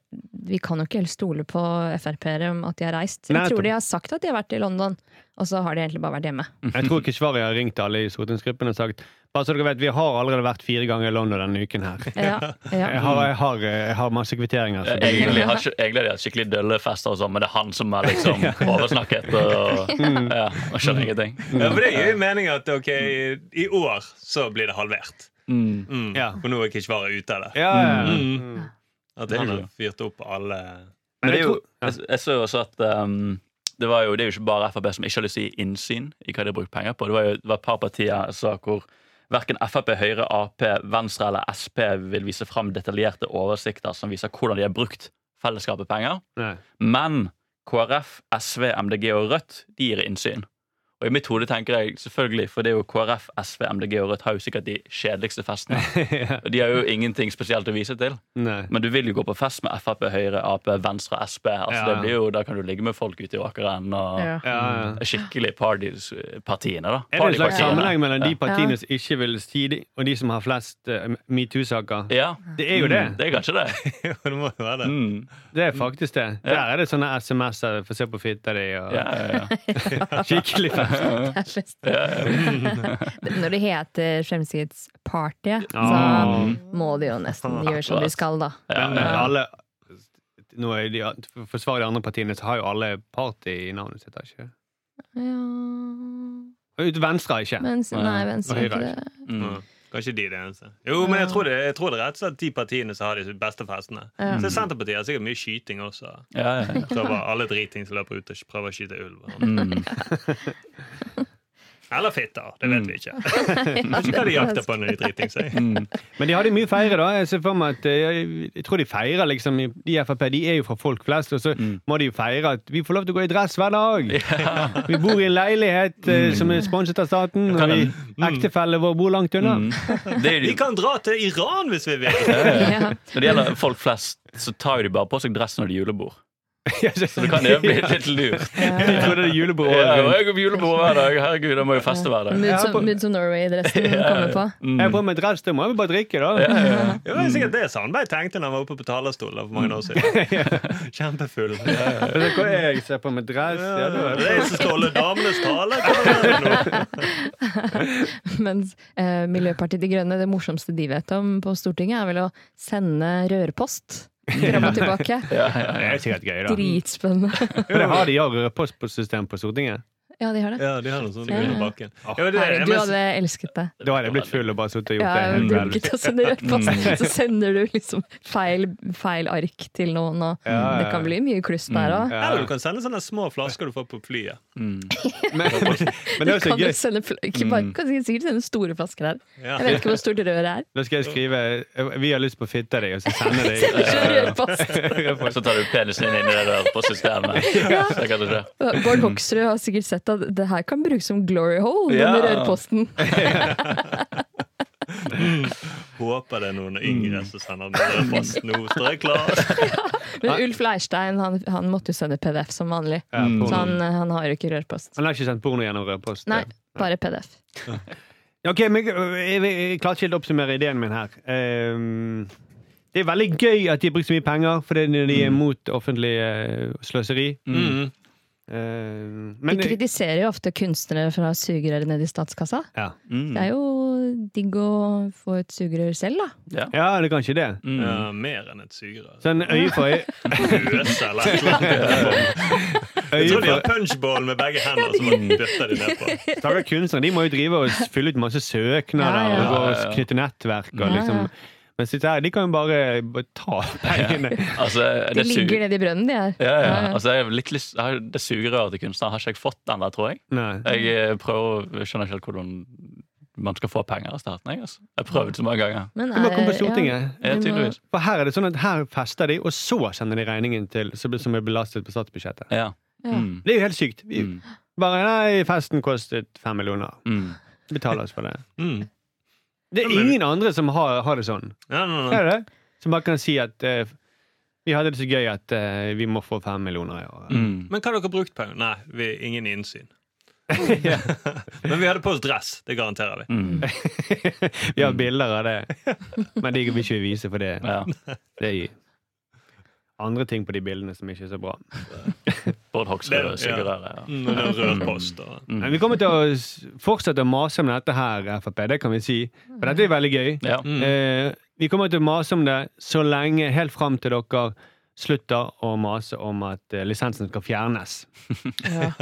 S3: vi kan jo ikke helt stole på Frp-ere om at de har reist.
S4: Nei,
S3: Jeg tror
S4: nettopp.
S3: de har sagt at de har vært i London, og så har de egentlig bare vært hjemme.
S4: Jeg tror Keshvari har ringt alle i stortingsgruppen og sagt 'bare så dere vet, vi har allerede vært fire ganger i London denne uken her'.
S3: Ja,
S4: Jeg
S3: ja.
S4: har, jeg har, eh, jeg har masse kvitteringer. Så det,
S2: Egentlig har ikke- egentlig har de hatt skikkelig dølle fester, og sånn, men det er han som er liksom oversnakket og, ja, og skjønner ingenting.
S5: Ja, for det gir jo mening at ok, i år så blir det halvert.
S2: Mm.
S5: Mm.
S4: Ja.
S5: For nå er Keshvari ute av det.
S4: ja, ja. ja.
S5: Mm. At han har fyrt opp alle [laughs]
S2: Men det
S4: Men jeg
S2: er jo,
S4: tror-
S2: jeg, jeg så jo også at um, det, var jo, det er jo ikke bare Frp som ikke har lyst til å gi innsyn i hva de har brukt penger på. Det var jo det var et par partier jeg sa hvor verken Frp, Høyre, Ap, Venstre eller Sp vil vise fram detaljerte oversikter som viser hvordan de har brukt fellesskapet penger.
S4: Nei. [laughs]
S2: Men KrF, SV, MDG og Rødt de gir innsyn. Og i mitt hode tenker jeg selvfølgelig, for det er jo KrF, SV, MDG og Rødt har jo sikkert de kjedeligste festene.
S4: [laughs]
S2: Og de har jo ingenting spesielt å vise til.
S4: Nei.
S2: Men du vil jo gå på fest med Frp, Høyre, Ap, Venstre, Sp. Altså,
S4: Ja.
S2: det blir jo, Da kan du ligge med folk ute i åkeren og
S3: [laughs] Ja.
S4: Ja, ja.
S2: skikkelig party-partiene, da.
S4: Er det en slags
S2: Partypartiene.
S4: sammenheng mellom de
S2: Mm. Ja.
S4: partiene som ikke vil si det, og de som har flest eh, metoo-saker?
S2: Ja.
S4: Det er jo det.
S2: Mm, det er kanskje
S4: [laughs]
S2: det.
S5: Jo, det må jo være det.
S2: Mm.
S4: Det er faktisk det. Der er det sånne SMS-er. Få se på fitta di. Og...
S2: Ja, ja, ja.
S4: Skikkelig fest.
S3: Det er slest. Når det heter Fremskrittspartiet, så
S4: Ah.
S3: må de jo nesten gjøre som de skal, da.
S4: Men eh, alle nå er de, For å forsvare de andre partiene, så har jo alle party i navnet sitt. har Ikke?
S3: Ja.
S4: Ut Venstre har ikke.
S3: Mens, nei, Venstre er ikke det.
S4: [laughs]
S2: Mm.
S5: Kanskje de er det eneste. Jo, men jeg tror det, jeg tror det er rett og slett de partiene som har de beste festene.
S3: Ja.
S5: Så Senterpartiet har sikkert mye skyting også.
S2: [laughs] ja, ja, ja.
S5: Jeg tror bare alle dritings løper ut og prøver å skyte ulv.
S2: Mm.
S4: Mm.
S5: [laughs] Eller fitter. Det vet vi ikke. Jeg
S3: Mm.
S5: vet ikke hva
S3: [laughs]
S5: de jakter på når de dritings er.
S2: Mm.
S4: Men de hadde mye feire, da. Jeg ser for meg at eh, jeg, jeg tror de feirer, liksom. i- De i Frp de er jo fra folk flest, og så
S2: Mm.
S4: må de jo feire at vi får lov til å gå i dress hver dag. Vi bor i en leilighet eh, som er sponset av staten,
S2: Mm. Kan
S4: og vi,
S2: en-
S4: ektefellen vår bor langt unna. [laughs]
S2: Mm. Det er
S5: Vi
S2: jo de,
S5: kan dra til Iran hvis vi vil!
S3: Ja.
S2: når det gjelder folk flest, så tar jo de bare på seg dress når de julebord.
S4: Ja, så-
S2: Så det kan jo bli litt
S3: [laughs]
S2: lurt.
S4: [laughs] Jeg trodde det var julebord.
S2: Ja, og jeg går på julebord hver dag. Herregud, da må jeg feste hver dag.
S3: Moods
S4: Ja,
S3: of-
S4: på-
S3: Moods of
S4: [laughs]
S3: Norway-dressen kommer på. [laughs]
S2: mm.
S4: Jeg har på meg dress, da må jeg vel bare drikke, da.
S2: [laughs]
S5: Det var sikkert det Sandberg tenkte når han var oppe på talerstolen for mange år [laughs] siden. Kjempefull.
S4: [laughs] Vet du hva jeg ser på meg dress? Ja, da er det-
S5: Det er som ståler damenes tale. Hva er det nå?
S3: Mens eh, Miljøpartiet De Grønne, det morsomste de vet om på Stortinget, er vel å sende rørpost fram
S4: [laughs]
S3: og tilbake.
S4: Det er sikkert gøy, da.
S3: Dritspennende. [laughs]
S4: Jo, det har de ja, postsystem på Stortinget.
S3: Ja, de har det.
S5: Ja, de har noe sånt
S3: Ja.
S5: under bakken. Ja, det,
S3: Herregud, du
S5: men-
S3: hadde elsket det.
S4: Da hadde jeg blitt full og bare sittet og gjort
S3: Ja,
S4: det. hele kvelden.
S3: drukket og sender
S4: [laughs]
S3: rørpost.
S4: Mm.
S3: Så sender du liksom feil, feil ark til noen, og
S4: Ja, ja, ja. Mm.
S3: det kan bli mye kluss der òg.
S4: Ja.
S5: Eller du kan sende sånne små flasker du får på flyet.
S4: Men, men det er jo så
S3: Kan du
S4: gøy. Mm.
S3: sende, fl- ikke bare, kan du sikkert sende store flasker her.
S5: Ja.
S3: Jeg vet ikke hvor stort røret
S4: [laughs]
S3: er.
S4: Da skal jeg skrive eh, 'Vi har lyst på fitta di', og så sender jeg
S3: [laughs]
S4: deg
S3: Sender ikke rørpost.
S2: Så tar du penisen din inn i det der på
S3: [laughs]
S2: systemet. Så kan det skje.
S3: Bård Hoksrud har sikkert sett at det her kan brukes som glory hole,
S2: Ja.
S3: denne rørposten.
S5: Håper det er noen yngre som sender den der post nå. Så er jeg klar.
S3: Men Ulf Leirstein han, han måtte jo sende PDF som vanlig.
S4: Ja,
S5: Mm.
S4: porno.
S3: Så han, han har jo ikke rørpost.
S4: Han har ikke sendt porno gjennom rødpost.
S3: Nei, bare PDF.
S4: Ok, men jeg, jeg, jeg klarer ikke helt å oppsummere ideen min her. Ehm, det er veldig gøy at de har brukt så mye penger, fordi de er mot offentlig eh, sløseri.
S5: Mm.
S4: Ehm,
S3: De
S4: men
S3: kritiserer jo ofte kunstnere for å ha sugerør nede i statskassa.
S4: ja.
S3: Det er jo digg å få et sugerør selv, da.
S4: ja, det kan ikke det.
S2: Mm.
S5: Ja, mer enn et sugerør.
S4: Sånn øye for øye,
S5: Løse eller et eller annet. Jeg
S4: øye
S5: tror de har
S4: for
S5: punchball med begge hender, så man dytter de ned på.
S4: Stakkars kunstnere, de må jo drive og fylle ut masse søknader
S3: Ja, ja.
S4: og gå og knytte nettverk og
S3: Ja,
S4: liksom
S3: ja.
S4: Mens disse her, de kan jo bare, bare ta [laughs] pengene.
S2: [laughs] Altså,
S3: De
S2: det su-
S3: ligger nede i brønnen, de her.
S2: ja, ja.
S3: Ja, ja.
S2: Altså, jeg har litt lyst, jeg har, det sugerøret til kunstnere har ikke jeg fått ennå, tror jeg.
S4: Nei.
S2: Jeg eh, prøver, jeg skjønner ikke helt hvordan man skal få penger av staten. Jeg, altså. jeg har prøvd så mange ganger.
S3: Men
S4: Du må
S3: er-
S4: komme på
S3: ja.
S4: Stortinget.
S2: Ja, tydeligvis.
S4: For her er det sånn at her fester de, og så sender de regningen til som blir- som er belastet på statsbudsjettet.
S2: Ja.
S3: Ja.
S2: Mm.
S4: Det er jo helt sykt. Vi
S2: Mm.
S4: bare Nei, festen kostet fem millioner.
S2: Mm.
S4: Betaler oss for det.
S5: Mm.
S4: Det er ingen andre som har, har det sånn.
S5: Ja, nei, nei.
S4: Er det? Som bare kan si at eh, vi hadde det så gøy at eh, vi må få fem millioner i året. [laughs]
S2: Mm.
S5: Men hva har dere brukt pengene Nei, vi, ingen innsyn. Men vi hadde på oss dress. Det garanterer vi.
S2: Mm.
S4: vi har bilder av det, men det kan vi ikke vise, for det,
S2: Ja.
S4: det er andre ting på de bildene som ikke er så bra.
S2: Bård Hoksrud,
S5: Det-
S2: sugerøret. Ja.
S5: Mm, og det er rød post. Og.
S2: Mm.
S4: Men vi kommer til å s- fortsette å mase om dette her, Frp. Det kan vi si. For dette er veldig gøy.
S2: Ja.
S5: Mm.
S4: Eh, vi kommer til å mase om det så lenge, helt fram til dere slutter å mase om at eh, lisensen skal fjernes. [laughs]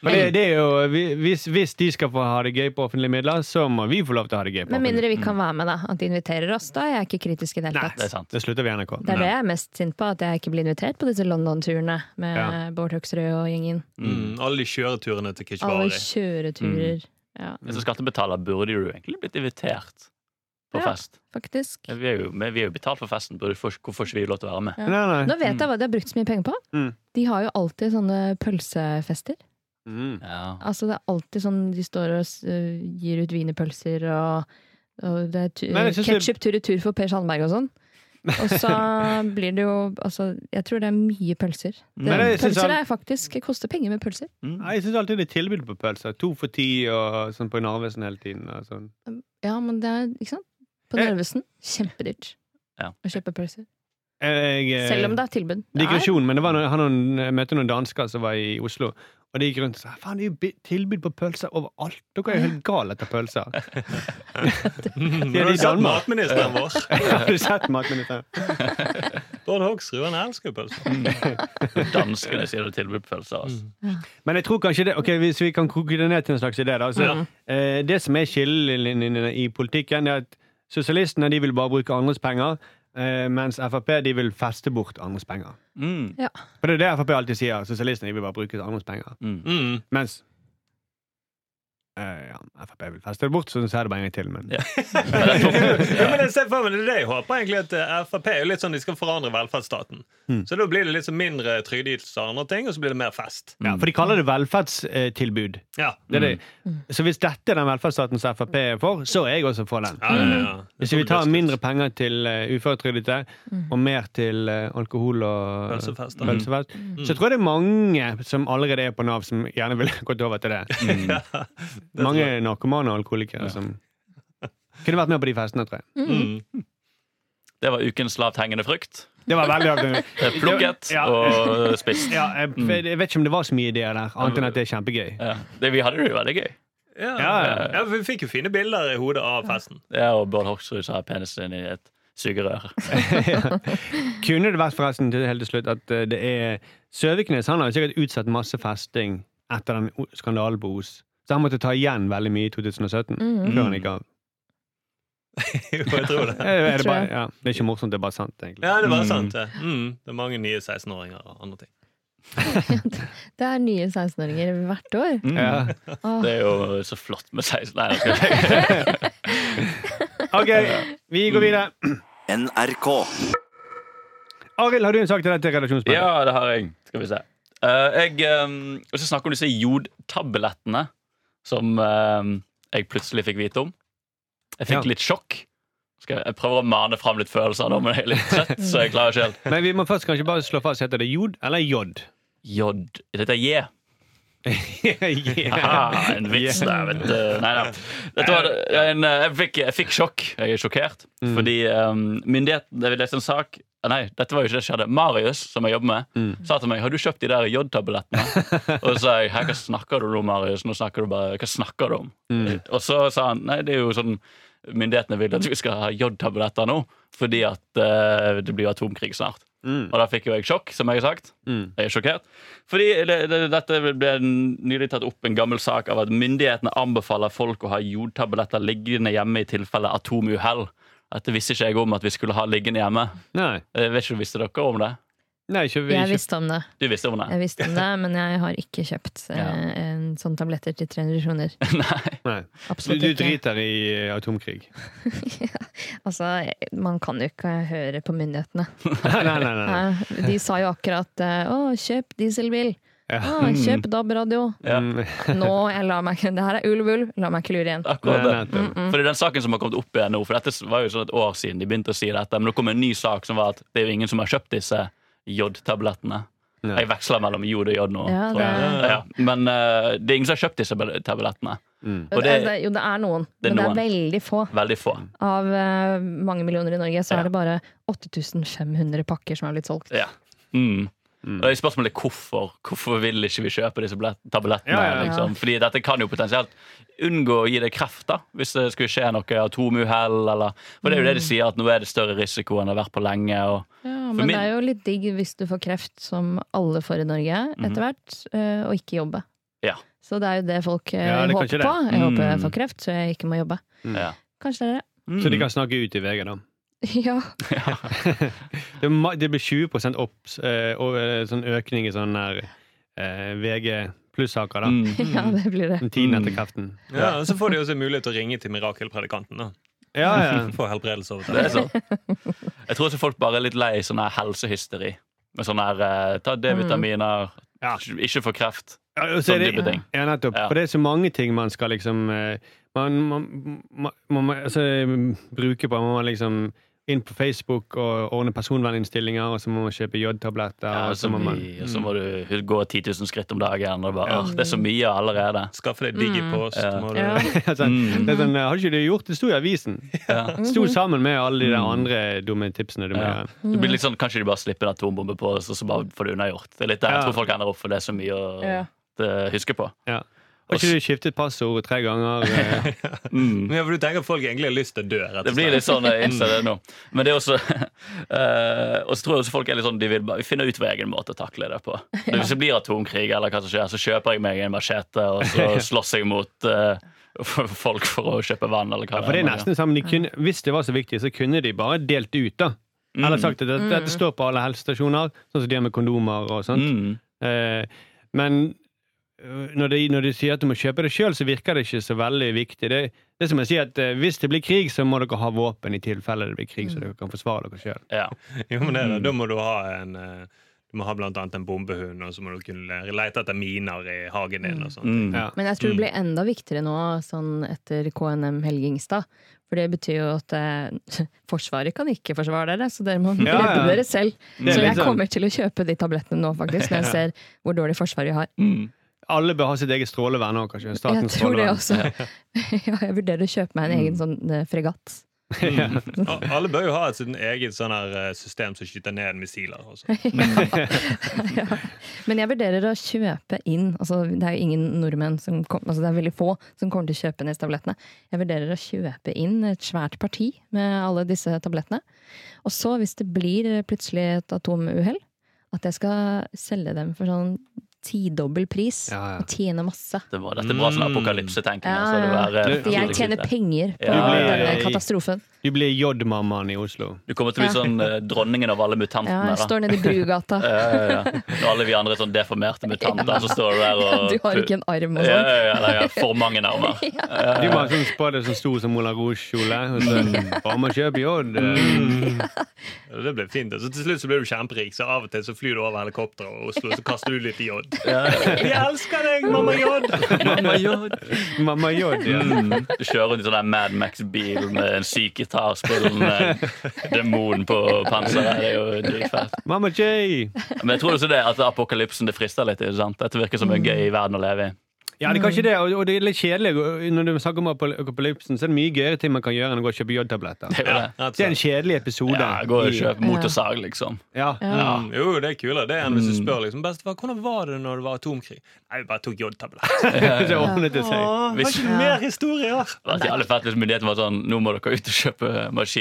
S4: For det, det er jo, vi- hvis, hvis de skal få ha det gøy på offentlige midler, så må vi få lov til å ha det gøy på
S3: Med
S4: offentlige
S3: mindre vi kan være med, da. At de inviterer oss. Da er jeg ikke kritisk i det hele
S2: Det er
S3: tatt.
S2: sant.
S4: Det slutter vi i NRK.
S3: Det er det jeg er mest sint på, at jeg ikke blir invitert på disse London-turene med
S4: Ja.
S3: Bård Hoksrud og gjengen.
S5: Mm, alle de kjøreturene til
S3: Alle
S5: Kishvari.
S3: kjøreturer.
S4: Mm.
S3: Ja,
S2: Men Som skattebetaler burde jo egentlig blitt invitert på
S3: Ja.
S2: fest.
S3: faktisk.
S2: Vi er jo, vi er jo betalt for festen, burde- for- hvorfor får ikke vi lov til å være med?
S4: Nei, nei.
S3: Nå vet jeg hva de har brukt så mye penger på.
S4: Mm.
S3: De har jo alltid sånne pølsefester.
S4: Mm.
S2: Ja.
S3: Altså Det er alltid sånn de står og s- øh, gir ut wienerpølser og, og det er tu-
S4: Men jeg synes det-
S3: ketchup tur i tur for Per Sandberg og sånn. Og så
S4: [laughs]
S3: blir det jo altså, Jeg tror det er mye pølser. Det,
S4: Men jeg synes
S3: pølser
S4: han-
S3: er faktisk det koster penger med pølser.
S2: Mm.
S4: Nei, Jeg syns alltid det er tilbud på pølser. To for ti og sånn på Narvesen hele tiden. Og sånn.
S3: Ja, men det er ikke sant? På
S4: Eh.
S3: Narvesen kjempedyrt
S2: Ja.
S3: å kjøpe pølser.
S4: Jeg, eh,
S3: Selv om det er tilbud. Det er-
S4: Digresjon, men det var noen, han, noen- jeg møtte noen dansker som var i Oslo. Og de gikk rundt og sa faen, det er jo bi- tilbud på pølser overalt. Dere er jo helt gale etter pølser. [laughs]
S5: Mm,
S4: Ja,
S5: har
S4: de
S5: du sett
S4: Danmark.
S5: matministeren vår?
S4: Har du sett matministeren?
S5: Bård Hoksrud han elsker jo pølser.
S2: [laughs] Danskene sier det tilbud på pølser. Altså.
S4: Men jeg tror kanskje det, ok, hvis vi kan koke det ned til en slags idé, da. Så, eh, det som er skillelinjene i politikken, er at sosialistene de vil bare bruke andres penger, eh, mens Frp de vil feste bort andres penger.
S2: Mm.
S3: Ja.
S4: For det er det Frp alltid sier. Sosialistene de vil bare bruke andres penger.
S2: Mm.
S5: [laughs] Mm.
S4: Mens eh, ja, Frp vil feste det bort, så så er det bare en gang til. Men
S2: Ja.
S5: Ja, men jeg ser for meg det er det jeg håper egentlig at eh, Frp er jo litt sånn de skal forandre velferdsstaten. Så da blir det litt sånn mindre trygdeytelser og andre ting, og så blir det mer fest.
S4: Ja, for de kaller det velferdstilbud.
S5: Ja.
S4: Det er det. Så hvis dette er den velferdsstaten som Frp er for, så er jeg også for den.
S5: Ja, sånn ja, ja.
S4: Hvis vi tar mindre penger til uh, uføretrygdede og mer til eh, alkohol og
S5: Pølsefest, da.
S4: pølsefest, så tror jeg det er mange som allerede er på Nav, som gjerne ville [laughs] gått over til det. mange narkomane og alkoholikere som kunne vært med på de festene, tror jeg.
S5: Mm.
S2: Det var ukens lavthengende frukt.
S4: Det var veldig artig.
S2: Det er Plukket
S4: Ja.
S2: og spist.
S4: [laughs]
S2: Mm.
S4: Ja, jeg, jeg vet ikke om det var så mye ideer der, annet enn at det er
S2: [laughs]
S4: kjempegøy. [laughs]
S2: Ja. Det, vi hadde det jo veldig gøy.
S5: Ja,
S4: Ja, ja.
S5: ja, for Vi fikk jo fine bilder i hodet av festen. [laughs]
S2: Ja, og Bård Hoksrud sa penisen i et sugerør.
S4: Kunne det vært forresten til helt til slutt at eh, det er Søviknes han har jo sikkert utsatt masse festing etter den o- skandalen på Os. Så han måtte ta igjen veldig mye i 2017.
S3: Mm.
S4: Før han gikk av.
S2: Mm.
S5: Jo, jeg tror det. [laughs]
S4: Eh, Er det,
S3: tror
S4: bare,
S3: jeg.
S4: ja, det er ikke morsomt, det er bare sant, egentlig.
S5: Ja, det var sant. Det, mm. det er mange nye 16-åringer og andre ting.
S3: Det er nye 16-åringer hvert år.
S2: Mm.
S4: Ja.
S3: Åh.
S2: Det er jo så flott med 16 Nei,
S4: [laughs]
S2: jeg skal ikke
S4: Ok, vi går videre.
S1: NRK.
S4: Arild, har du en sak til deg til redaksjonsmøtet?
S2: Ja, det har jeg. Skal vi se. Eh, jeg um, vil snakke om disse jodtablettene som eh, jeg plutselig fikk vite om. Jeg fikk
S4: Ja.
S2: litt sjokk. Skal jeg, jeg prøver å mane fram litt følelser nå, men jeg er litt trøtt, så jeg klarer ikke helt.
S4: Men vi må først kanskje bare slå fast heter det jod eller jod. [laughs]
S2: Jod. Dette er J.
S4: yeah.
S2: Haha, Ah, en vits der, vet du. Nei da. Dette var en, eh, jeg, fikk, jeg fikk sjokk. Jeg er sjokkert. Fordi um, myndighetene Jeg leste en sak eh, Nei, dette var jo ikke det som skjedde. Marius, som jeg jobber med, sa til meg har du kjøpt de der jodtablettene. og så sa jeg «Hæ, hva snakker du om, Marius? Nå snakker du bare, Hva snakker du om? Og så sa han nei, det er jo sånn myndighetene vil at vi skal ha jodtabletter nå. Fordi at eh, det blir jo atomkrig snart.
S4: Mm,
S2: Og da fikk jo jeg sjokk, som jeg har sagt. Jeg er sjokkert. Fordi det, det, dette ble nylig tatt opp en gammel sak av at myndighetene anbefaler folk å ha jodtabletter liggende hjemme i tilfelle atomuhell. Dette visste ikke jeg om at vi skulle ha liggende hjemme.
S4: Nei,
S2: Jeg vet ikke, Visste dere om det?
S4: nei ikke, vi-
S3: Jeg
S4: ikke.
S3: visste om det,
S2: Du visste om det?
S3: jeg visste om det men jeg har ikke kjøpt eh,
S2: Ja.
S3: en sånn tabletter til 300
S2: [laughs]
S3: kroner.
S2: Nei.
S4: Nei. Du,
S3: Absolutt
S4: du
S3: ikke.
S4: driter i eh,
S3: [laughs]
S4: atomkrig.
S3: Altså, man kan jo ikke høre på myndighetene.
S4: Nei, nei, nei. nei.
S3: Nei, De sa jo akkurat eh, 'å, kjøp dieselbil'.
S4: Ja.
S3: Å, kjøp DAB-radio.
S2: Ja,
S4: Mm.
S3: Nå, jeg lar meg ikke Det her er ulv, ulv. La meg ikke lure igjen.
S2: akkurat det.
S4: Nei,
S3: Mm.
S4: nettopp.
S2: Fordi den saken som har kommet opp igjen nå, for dette var jo sånn et år siden de begynte å si dette, men det kom en ny sak som var at det er jo ingen som har kjøpt disse jodtablettene.
S4: Nei.
S2: Jeg veksler mellom jod og jod nå.
S3: Ja,
S2: tror
S3: det
S2: jeg.
S3: er,
S2: Ja, men eh, det er ingen som har kjøpt disse tablettene.
S4: Mm.
S2: Og det er
S3: Altså, jo, det er noen,
S2: Det er
S3: men det
S2: noen.
S3: er veldig få.
S2: veldig få.
S3: Av eh, mange millioner i Norge så
S2: Ja.
S3: er det bare 8500 pakker som har blitt solgt.
S2: Ja. Mm. Og det er spørsmålet hvorfor. Hvorfor vil ikke vi kjøpe disse billett- tablettene?
S4: Ja, ja,
S3: ja.
S2: Liksom? Fordi dette kan jo potensielt unngå å gi deg kreft da, hvis det skulle skje noe atomuhell. Eller. For det er jo det de
S4: Mm.
S2: sier, at nå er det større risiko enn det har vært på lenge. Og,
S3: Ja,
S2: For
S3: men
S2: min-
S3: det er jo litt digg hvis du får kreft, som alle får i Norge etter hvert, eh, og ikke jobbe.
S2: Mhm. Ja.
S3: Så det er jo det folk eh,
S4: Ja, det kan
S3: håper
S4: ikke det.
S3: på. Jeg håper jeg
S2: Mm.
S3: får kreft, så jeg ikke må jobbe.
S2: ja.
S3: Kanskje det er det.
S2: Mm.
S4: Så de kan snakke ut i VG,
S3: [laughs]
S4: da.
S3: ja.
S4: Det, er ma- det blir 20 opps, eh, og, eh, sånn økning i sånn der eh, VG pluss-saker, da.
S2: Mm.
S3: ja, det blir det.
S4: Den tiden etter kreften.
S5: Ja, og Så får de også mulighet til å ringe til mirakelpredikanten. da.
S4: Ja,
S3: [laughs]
S4: ja.
S5: Få helbredelse over
S2: Det
S5: det.
S2: er sånn. Jeg tror også folk bare er litt lei sånn her helsehysteri. Med sånn her eh, ta D-vitaminer,
S4: Mm. Ja.
S2: ikke få kreft.
S4: Ja, og så er
S2: Sånn
S4: det-
S2: type ting.
S4: Ja, nettopp.
S2: Ja.
S4: For det er så mange ting man skal liksom eh, Man, man, man, man må altså, bruke på Man må liksom inn på Facebook og ordne personverninnstillinger, og så må man kjøpe jodtabletter,
S2: Ja,
S4: og så må man
S2: mye, og så må du gå 10 000 skritt om dagen. Og bare, «Åh, det er så mye allerede.
S5: Skaffe deg digipost.
S2: Ja.
S5: må du-
S3: Ja.
S4: [laughs] altså,
S2: Mm.
S4: det er sånn, Har ikke du gjort det? Sto i avisen.
S2: Ja.
S4: Sto sammen med alle de der andre dumme tipsene du må
S2: Mm. Ja.
S4: gjøre.
S2: Det
S3: Mm.
S2: blir litt sånn, Kanskje de bare slipper en atombombe på oss, og så bare får det unnagjort. Det er litt der
S4: Ja.
S2: jeg tror folk ender opp, for det er så mye å
S3: Ja.
S2: eh, huske på.
S4: Ja. Har ikke du skiftet passord tre
S2: [laughs]
S4: ganger? eh?
S5: Men ja, for Du tenker at folk egentlig har lyst til å dø. rett
S2: Det
S5: og
S2: blir
S5: slett.
S2: litt sånn, jeg innser
S4: [laughs]
S2: det nå. Men det er også [laughs] eh, Og så tror jeg også folk er litt sånn De vil bare finne ut hver egen måte å takle det
S3: [laughs]
S2: på. Hvis det blir atomkrig, eller hva som skjer, så kjøper jeg meg en machete, og så
S4: [laughs]
S2: slåss jeg mot eh, [laughs] folk for å kjøpe vann, eller hva
S4: For det er nesten sammen. De kunne, hvis det var så viktig, så kunne de bare delt ut, da. Eller
S2: Mm.
S4: sagt at dette, dette står på alle helsestasjoner, sånn som de har med kondomer og sånt.
S2: Mm.
S4: Eh, men øh, når de, når de sier at du må kjøpe det sjøl, så virker det ikke så veldig viktig. Det, det er som å si at eh, hvis det blir krig, så må dere ha våpen i tilfelle det blir krig, så dere kan forsvare dere sjøl.
S2: Ja.
S5: [laughs] Jo, men det,
S2: Mm.
S5: er det. Da må du ha en eh, du må ha blant annet en bombehund, og så må du kunne lete etter miner i hagen din. og sånn. sånt.
S2: Mm.
S4: Ja.
S3: Men jeg tror det blir enda viktigere nå, sånn etter KNM Helgingstad. For det betyr jo at eh, [laughs] Forsvaret kan ikke forsvare dere, så dere må redde
S4: Ja, ja.
S3: dere selv.
S4: er
S3: Så jeg
S4: litt sånn.
S3: kommer til å kjøpe de tablettene nå,
S2: [laughs]
S3: faktisk, når jeg ser hvor dårlig forsvar vi har.
S4: Alle bør ha sitt eget strålevern òg, kanskje.
S3: Jeg
S4: Statens
S3: tror det
S4: strålevern.
S3: også. [laughs] Ja, jeg vurderer å kjøpe meg en egen sånn eh, fregatt.
S2: Mm.
S5: Og Alle bør jo ha et sitt eget sånn her eh, system som skyter ned missiler. sånn. Også.
S3: Men jeg vurderer å kjøpe inn altså Det er jo ingen nordmenn som kom, altså det er veldig få som kommer til å kjøpe disse tablettene. Jeg vurderer å kjøpe inn et svært parti med alle disse tablettene. Og så, hvis det blir eh, plutselig et atomuhell, at jeg skal selge dem for sånn tidobbel pris
S4: Ja, ja.
S3: og tjene masse.
S2: Det var, dette er bra sånn
S5: Mm.
S2: apokalypsetenking.
S3: Ja,
S2: altså, det var, eh,
S4: ja.
S3: For jeg tjener penger på
S2: Ja,
S4: ja, ja,
S3: denne
S4: ja.
S3: katastrofen.
S4: Du blir jodmammaen i Oslo.
S2: Du kommer til å bli sånn eh, dronningen av alle
S3: Ja,
S2: mutantene.
S3: jeg
S2: da.
S3: står nede i Brugata.
S2: [laughs] Ja, ja, ja. Når alle vi andre er sånn deformerte mutanter, så står du der og
S3: [laughs] Du har ikke en arm og
S2: ja,
S3: sånn.
S2: ja, ja, eller, ja, For mange
S3: [laughs]
S2: nærmere.
S4: Du må ha sånn spade som stor som Moulin Rouge-kjole. og
S2: Mm.
S4: så Bare må kjøpe jod.
S5: Ja, Det blir fint. Og så til slutt så blir du kjemperik, så av og til så flyr du over helikopteret over Oslo, så kaster du litt jod. [laughs] Vi elsker deg, mamma jod!
S2: Mamma jod.
S4: [laughs] Mamma jod, ja.
S2: Mm. Du kjører rundt i sånn der Mad Max-bil med en syk gitarspillende demon på panseret. Det er jo dritfett.
S4: Mamma J!
S2: Men jeg tror også det at apokalypsen det frister litt. ikke sant? Dette virker
S3: Mm.
S2: som en gøy verden å leve i.
S4: Ja, det kan ikke det, og og det er litt kjedelig. og Når du snakker om apokalypsen, så er det mye gøyere ting man kan gjøre enn å gå og kjøpe jodtabletter.
S2: Det er jo det.
S4: Det er en kjedelig episode.
S2: Ja, Gå og
S4: i-
S2: kjøp motorsag, liksom.
S4: Ja.
S5: Mm, jo, det er kulere. Det er enn hvis du spør liksom, bestefar hvordan var det når det var atomkrig. Nei, vi bare tok jodtabletter.
S4: Så ordnet [laughs] det seg.
S2: Hvis-
S5: Ikke mer historier!
S2: Det hadde vært jævlig fett hvis myndighetene var sånn Nå må dere ut og kjøpe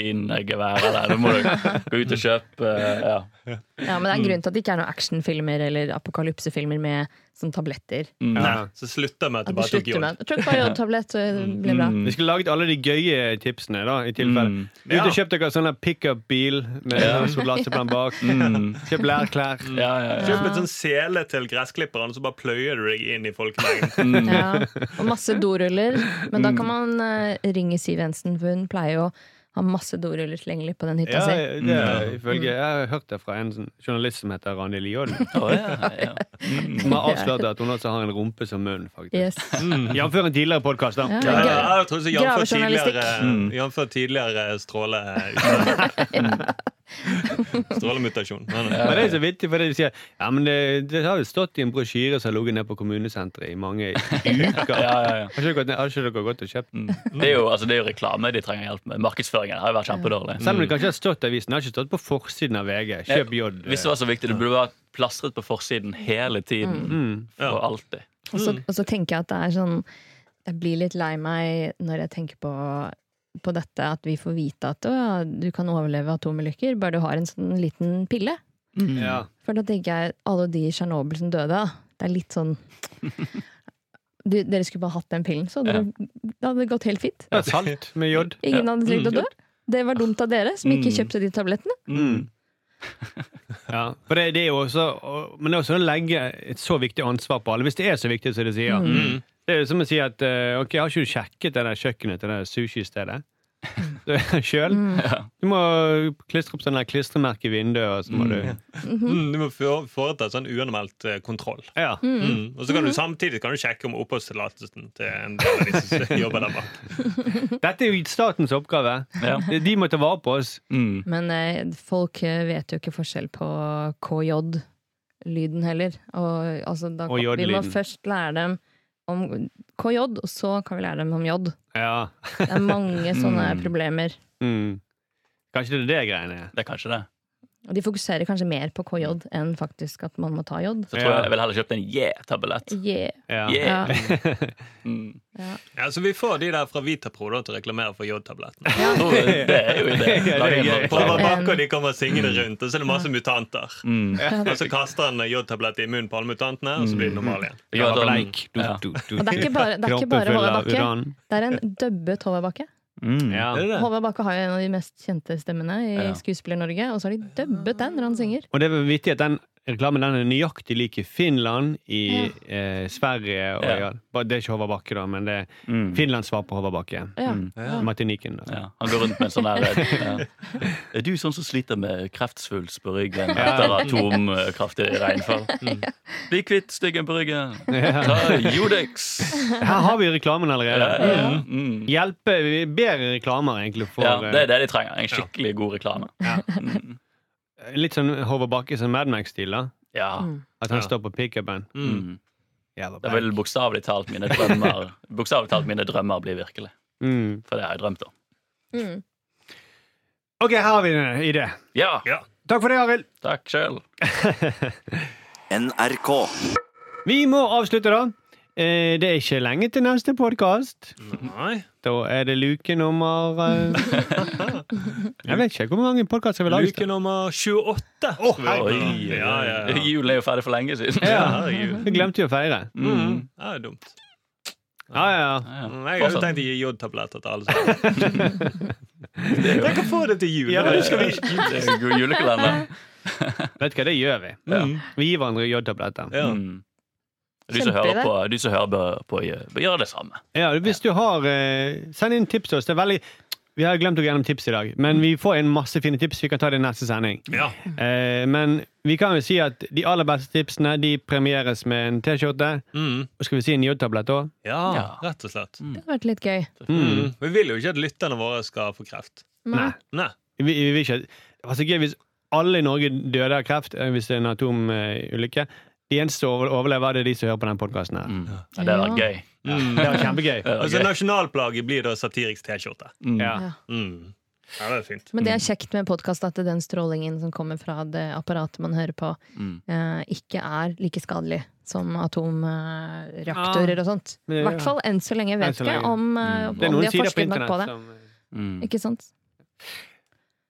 S2: maskingevær, eller nå må dere gå ut og kjøpe eh, ja.
S4: Mm.
S3: Ja, men det er en grunn til at det ikke er noen actionfilmer eller apokalypsefilmer med sånn tabletter.
S4: Mm.
S2: Nei.
S4: Ja.
S5: Så slutter med at
S3: At
S5: du
S3: du
S5: bare tok
S3: slutter
S5: jod.
S3: med Jeg tror ikke bare jodtablett, så det blir bra.
S4: Vi skulle laget alle de gøye tipsene, da, i tilfelle.
S2: Mm.
S4: Ut
S5: Ja.
S4: og kjøp dere sånn der pickup-bil med soldatseplan bak.
S2: [laughs] Mm.
S4: Kjøp lærklær.
S2: Ja, ja, ja.
S5: Kjøp en sånn sele til gressklipperen, og så bare pløyer du deg inn i
S3: [laughs] Mm.
S5: folkemengden.
S4: Mm. [laughs]
S3: Ja, og masse doruller. Men da kan man eh, ringe Siv Jensen, for hun pleier jo å ha masse doruller tilgjengelig på den hytta
S4: Ja,
S3: si.
S4: det er ifølge Jeg har hørt det fra en sånn journalist som heter Randi Lioden.
S2: Å, ja, [laughs] ja.
S4: [laughs]
S2: Mm.
S4: Som har avslørt at hun også har en rumpe som munn, faktisk.
S3: Yes.
S4: Jf. en tidligere podkast, da.
S3: Ja,
S5: Ja,
S3: gra-
S5: ja, jeg tror så Jamfør
S3: Gravejournalistikk.
S5: tidligere, jamfør tidligere stråle Strålemutasjon. Nei, nei.
S4: Men det er så vittig, for det de sier Ja, men det, det har jo stått i en brosjyre som har ligget nede på kommunesenteret i mange
S2: [laughs]
S4: uker.
S2: Ja, ja, ja.
S4: Har ikke dere gått ned- har ikke dere gått og kjøpt den?
S2: Det er, jo, altså, det er jo reklame de trenger hjelp med. Markedsføringen har jo vært kjempedårlig.
S4: Selv om det kanskje har stått i avisen. Det har ikke stått på forsiden av VG. Kjøp jod.
S2: Hvis det var så viktig, det burde vært plastret på forsiden hele tiden.
S4: eh. Mm.
S2: For alltid.
S3: Og, så, og så tenker jeg at det er sånn Jeg blir litt lei meg når jeg tenker på på dette at vi får vite at å, ja, du kan overleve atomulykker bare du har en sånn liten pille.
S4: Ja.
S3: For da tenker jeg alle de i Tsjernobyl som døde, det er litt sånn du, Dere skulle bare hatt den pillen, så hadde det, det hadde gått helt fint.
S4: Ja, salt med
S2: [laughs]
S4: jod.
S3: Ingen hadde trengt å dø. Det var dumt av dere som ikke kjøpte de tablettene.
S4: Ja, for det, det er jo også, og, men det er også å legge et så viktig ansvar på alle, hvis det er så viktig som de sier.
S3: Mm.
S2: Mm.
S4: Det er jo som å si at eh, ok, har ikke du sjekket det der kjøkkenet til det der
S3: [laughs]
S4: sushistedet? [laughs] Sjøl?
S3: Mm.
S4: Du må klistre opp sånne der klistremerke i vinduet, og så må du
S5: Mm, Du må få- foreta sånn uanmeldt eh, kontroll.
S4: Ja.
S5: Mm. Og så kan du samtidig kan du sjekke om oppholdstillatelsen til en del av de som [laughs] jobber der bak.
S4: Dette er jo statens oppgave.
S2: Ja.
S4: Det- De må ta vare på oss.
S2: Mm.
S3: Men eh, folk eh, vet jo ikke forskjell på KJ-lyden heller. Og, altså, da,
S4: Og
S3: vi må
S4: J-lyden.
S3: først lære dem om KJ, og så kan vi lære dem om J.
S4: Ja.
S3: Det er mange sånne problemer.
S4: Mm. Kanskje det er det greiene er.
S2: Det er kanskje det.
S3: Og de fokuserer kanskje mer på KJ enn faktisk at man må ta J.
S2: Så tror
S4: Ja.
S2: jeg jeg ville heller kjøpt en yeah-tablett.
S3: Yeah.
S4: Ja.
S2: Yeah.
S3: Ja.
S2: Mm.
S5: Ja, så vi får de der fra Vitapro da, til å reklamere for jodtablettene.
S2: Oh, det er jo ideen.
S4: [laughs] Ja, det er
S2: Lage en
S4: gøy.
S2: marked.
S5: Prøver bak, og de kommer syngende rundt, og så er det masse mutanter.
S2: Mm.
S5: Og så kaster han jodtablett i munnen på alle mutantene, og så blir det normal igjen.
S2: Det kan være sånn-
S4: Bleik. Du,
S2: Ja.
S4: du, du.
S3: Og det er ikke bare, det er ikke
S4: Kroppen
S3: bare
S4: full
S3: Håvard
S4: av
S3: Bakke.
S4: uran.
S3: Det er en dubbet Håvard Bakke.
S2: Mm.
S4: Ja.
S2: Er det det?
S3: Håvard Bakke har jo en av de mest kjente stemmene i
S2: Ja.
S3: Skuespiller-Norge, og så har de dubbet den når han synger.
S4: Og det er vel vittig at den reklamen den er nøyaktig lik i Finland, i eh, Sverige og
S2: Ja.
S4: ja. bare- Det er ikke Håvard Bakke, da, men det er
S2: Mm.
S4: Finland svar på Håvard Bakke.
S3: Ja.
S4: Martinikken, [laughs] da.
S2: Ja, han går rundt med en sånn der
S4: [laughs]
S2: ja. Er du sånn som sliter med kreftsvulst på ryggen etter atomkraftig
S4: [laughs]
S2: regnfall? Bli kvitt styggen på ryggen. Ta Jodex.
S4: Her har vi reklamen allerede.
S2: Mm.
S4: Hjelpe vi- Bedre reklamer, egentlig, for
S2: Ja, det er det de trenger. En skikkelig god reklame. [laughs] Mm.
S4: eh, Litt sånn Håvard Bakke som Mad Max-stil, da.
S2: Ja.
S4: At han
S5: Ja.
S4: står på pickupen.
S2: Mm.
S4: Jævla
S2: Da
S4: bra.
S2: vil bokstavelig talt mine drømmer Bokstavelig talt mine drømmer bli virkelig.
S4: Mm.
S2: For det har jeg drømt om.
S3: Mm.
S4: Ok, her har vi en idé.
S2: Ja!
S5: Ja.
S4: Takk for det, Arild.
S2: Takk sjøl.
S1: NRK.
S4: Vi må avslutte, da. Eh, Det er ikke lenge til neste podkast.
S5: Nei.
S4: Da er det luke nummer eh, Jeg vet ikke hvor mange podkaster vi lager.
S5: Luke nummer 28. skal vi åpne.
S2: Oi,
S5: ja, ja, ja.
S2: Julen er jo ferdig for lenge siden. [laughs]
S4: Ja,
S5: herregud.
S4: Vi glemte jo å feire.
S5: Mm. Ja, det er dumt.
S4: Ja, ja, ja.
S2: Ja.
S5: Mm, Jeg har jo
S2: Fortsatt.
S5: tenkt å gi jodtabletter til alle sammen.
S2: Det er jo-
S5: Jeg kan få det til jul.
S4: Ja, men du skal
S2: Det er en god julekalender.
S4: Vet du hva, det gjør vi.
S2: Ja.
S4: Vi gir hverandre jodtabletter.
S5: Ja.
S2: Mm. Du som hører
S3: Kjempeidé.
S2: på, du som hører på, på bør gjøre det samme.
S4: Ja, hvis du har eh, Send inn tips til oss. Det er veldig vi har glemt å gå gjennom tips i dag, men vi får inn masse fine tips. Vi kan ta det i neste sending.
S5: Ja.
S4: Eh, men vi kan jo si at de aller beste tipsene de premieres med en T-skjorte.
S5: Mm.
S4: Og skal vi si en jodtablett òg?
S5: ja,
S2: Ja.
S5: rett og slett.
S3: Det hadde vært litt gøy.
S4: Hmm.
S5: Mm. Vi vil jo ikke at lytterne våre skal få kreft.
S4: Nei.
S5: Nei.
S4: Vi, vi, vil ikke Det var så gøy hvis alle i Norge døde av kreft eh, hvis det er en atomulykke. De eneste som over- overlever, det er de som hører på den podkasten her.
S2: Mm. Ja, det hadde vært
S3: Ja.
S2: gøy.
S5: Mm.
S4: Det var kjempegøy.
S5: Altså, Nasjonalplaget blir da satiriks T-skjorte.
S4: Ja.
S3: Ja.
S5: Mm. Ja, det er fint.
S3: Men det
S4: Mm.
S3: er kjekt med podkast at den strålingen som kommer fra det apparatet man hører på,
S2: Mm.
S3: eh, ikke er like skadelig som atomreaktorer og sånt. I
S4: Men-
S3: hvert fall enn så lenge. Jeg
S4: Enn
S3: vet
S4: så
S3: ikke
S4: lenge.
S3: om, eh,
S4: Det er
S3: om
S4: noen
S3: de har
S4: sider på
S3: forsket nok på
S4: internett
S3: det.
S4: som
S2: Mm.
S3: Ikke sant?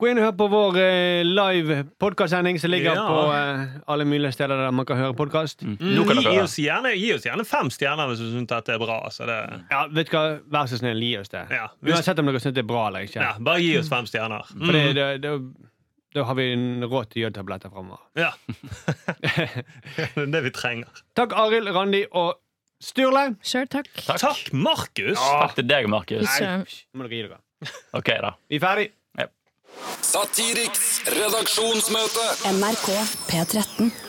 S4: Gå inn og hør på vår eh, live podkastsending som ligger
S5: Ja. Mm.
S4: på eh, alle mulige steder der man kan høre podkast.
S2: Mm. Nå kan dere
S5: Gi
S2: høre.
S5: oss, gjerne, gi oss gjerne fem stjerner hvis du syns dette er bra. Så det,
S4: Ja, vet du hva? Vær så snill, gi oss det.
S5: Ja.
S4: Uansett om dere syns det er bra eller ikke.
S5: ja, Mm. bare gi oss fem stjerner.
S4: For det, det, det, da har vi en råd til jødtabletter framover.
S5: Ja. [laughs] det er det vi trenger.
S4: Takk, Arild, Randi og Sturle.
S3: Sjøl takk.
S2: Takk.
S5: Takk, Markus!
S2: Takk til deg, Markus.
S3: Ikke-
S4: Nå må dere gi dere.
S2: Ok, da.
S4: Vi er ferdig.
S6: Satiriks redaksjonsmøte.
S7: NRK P13.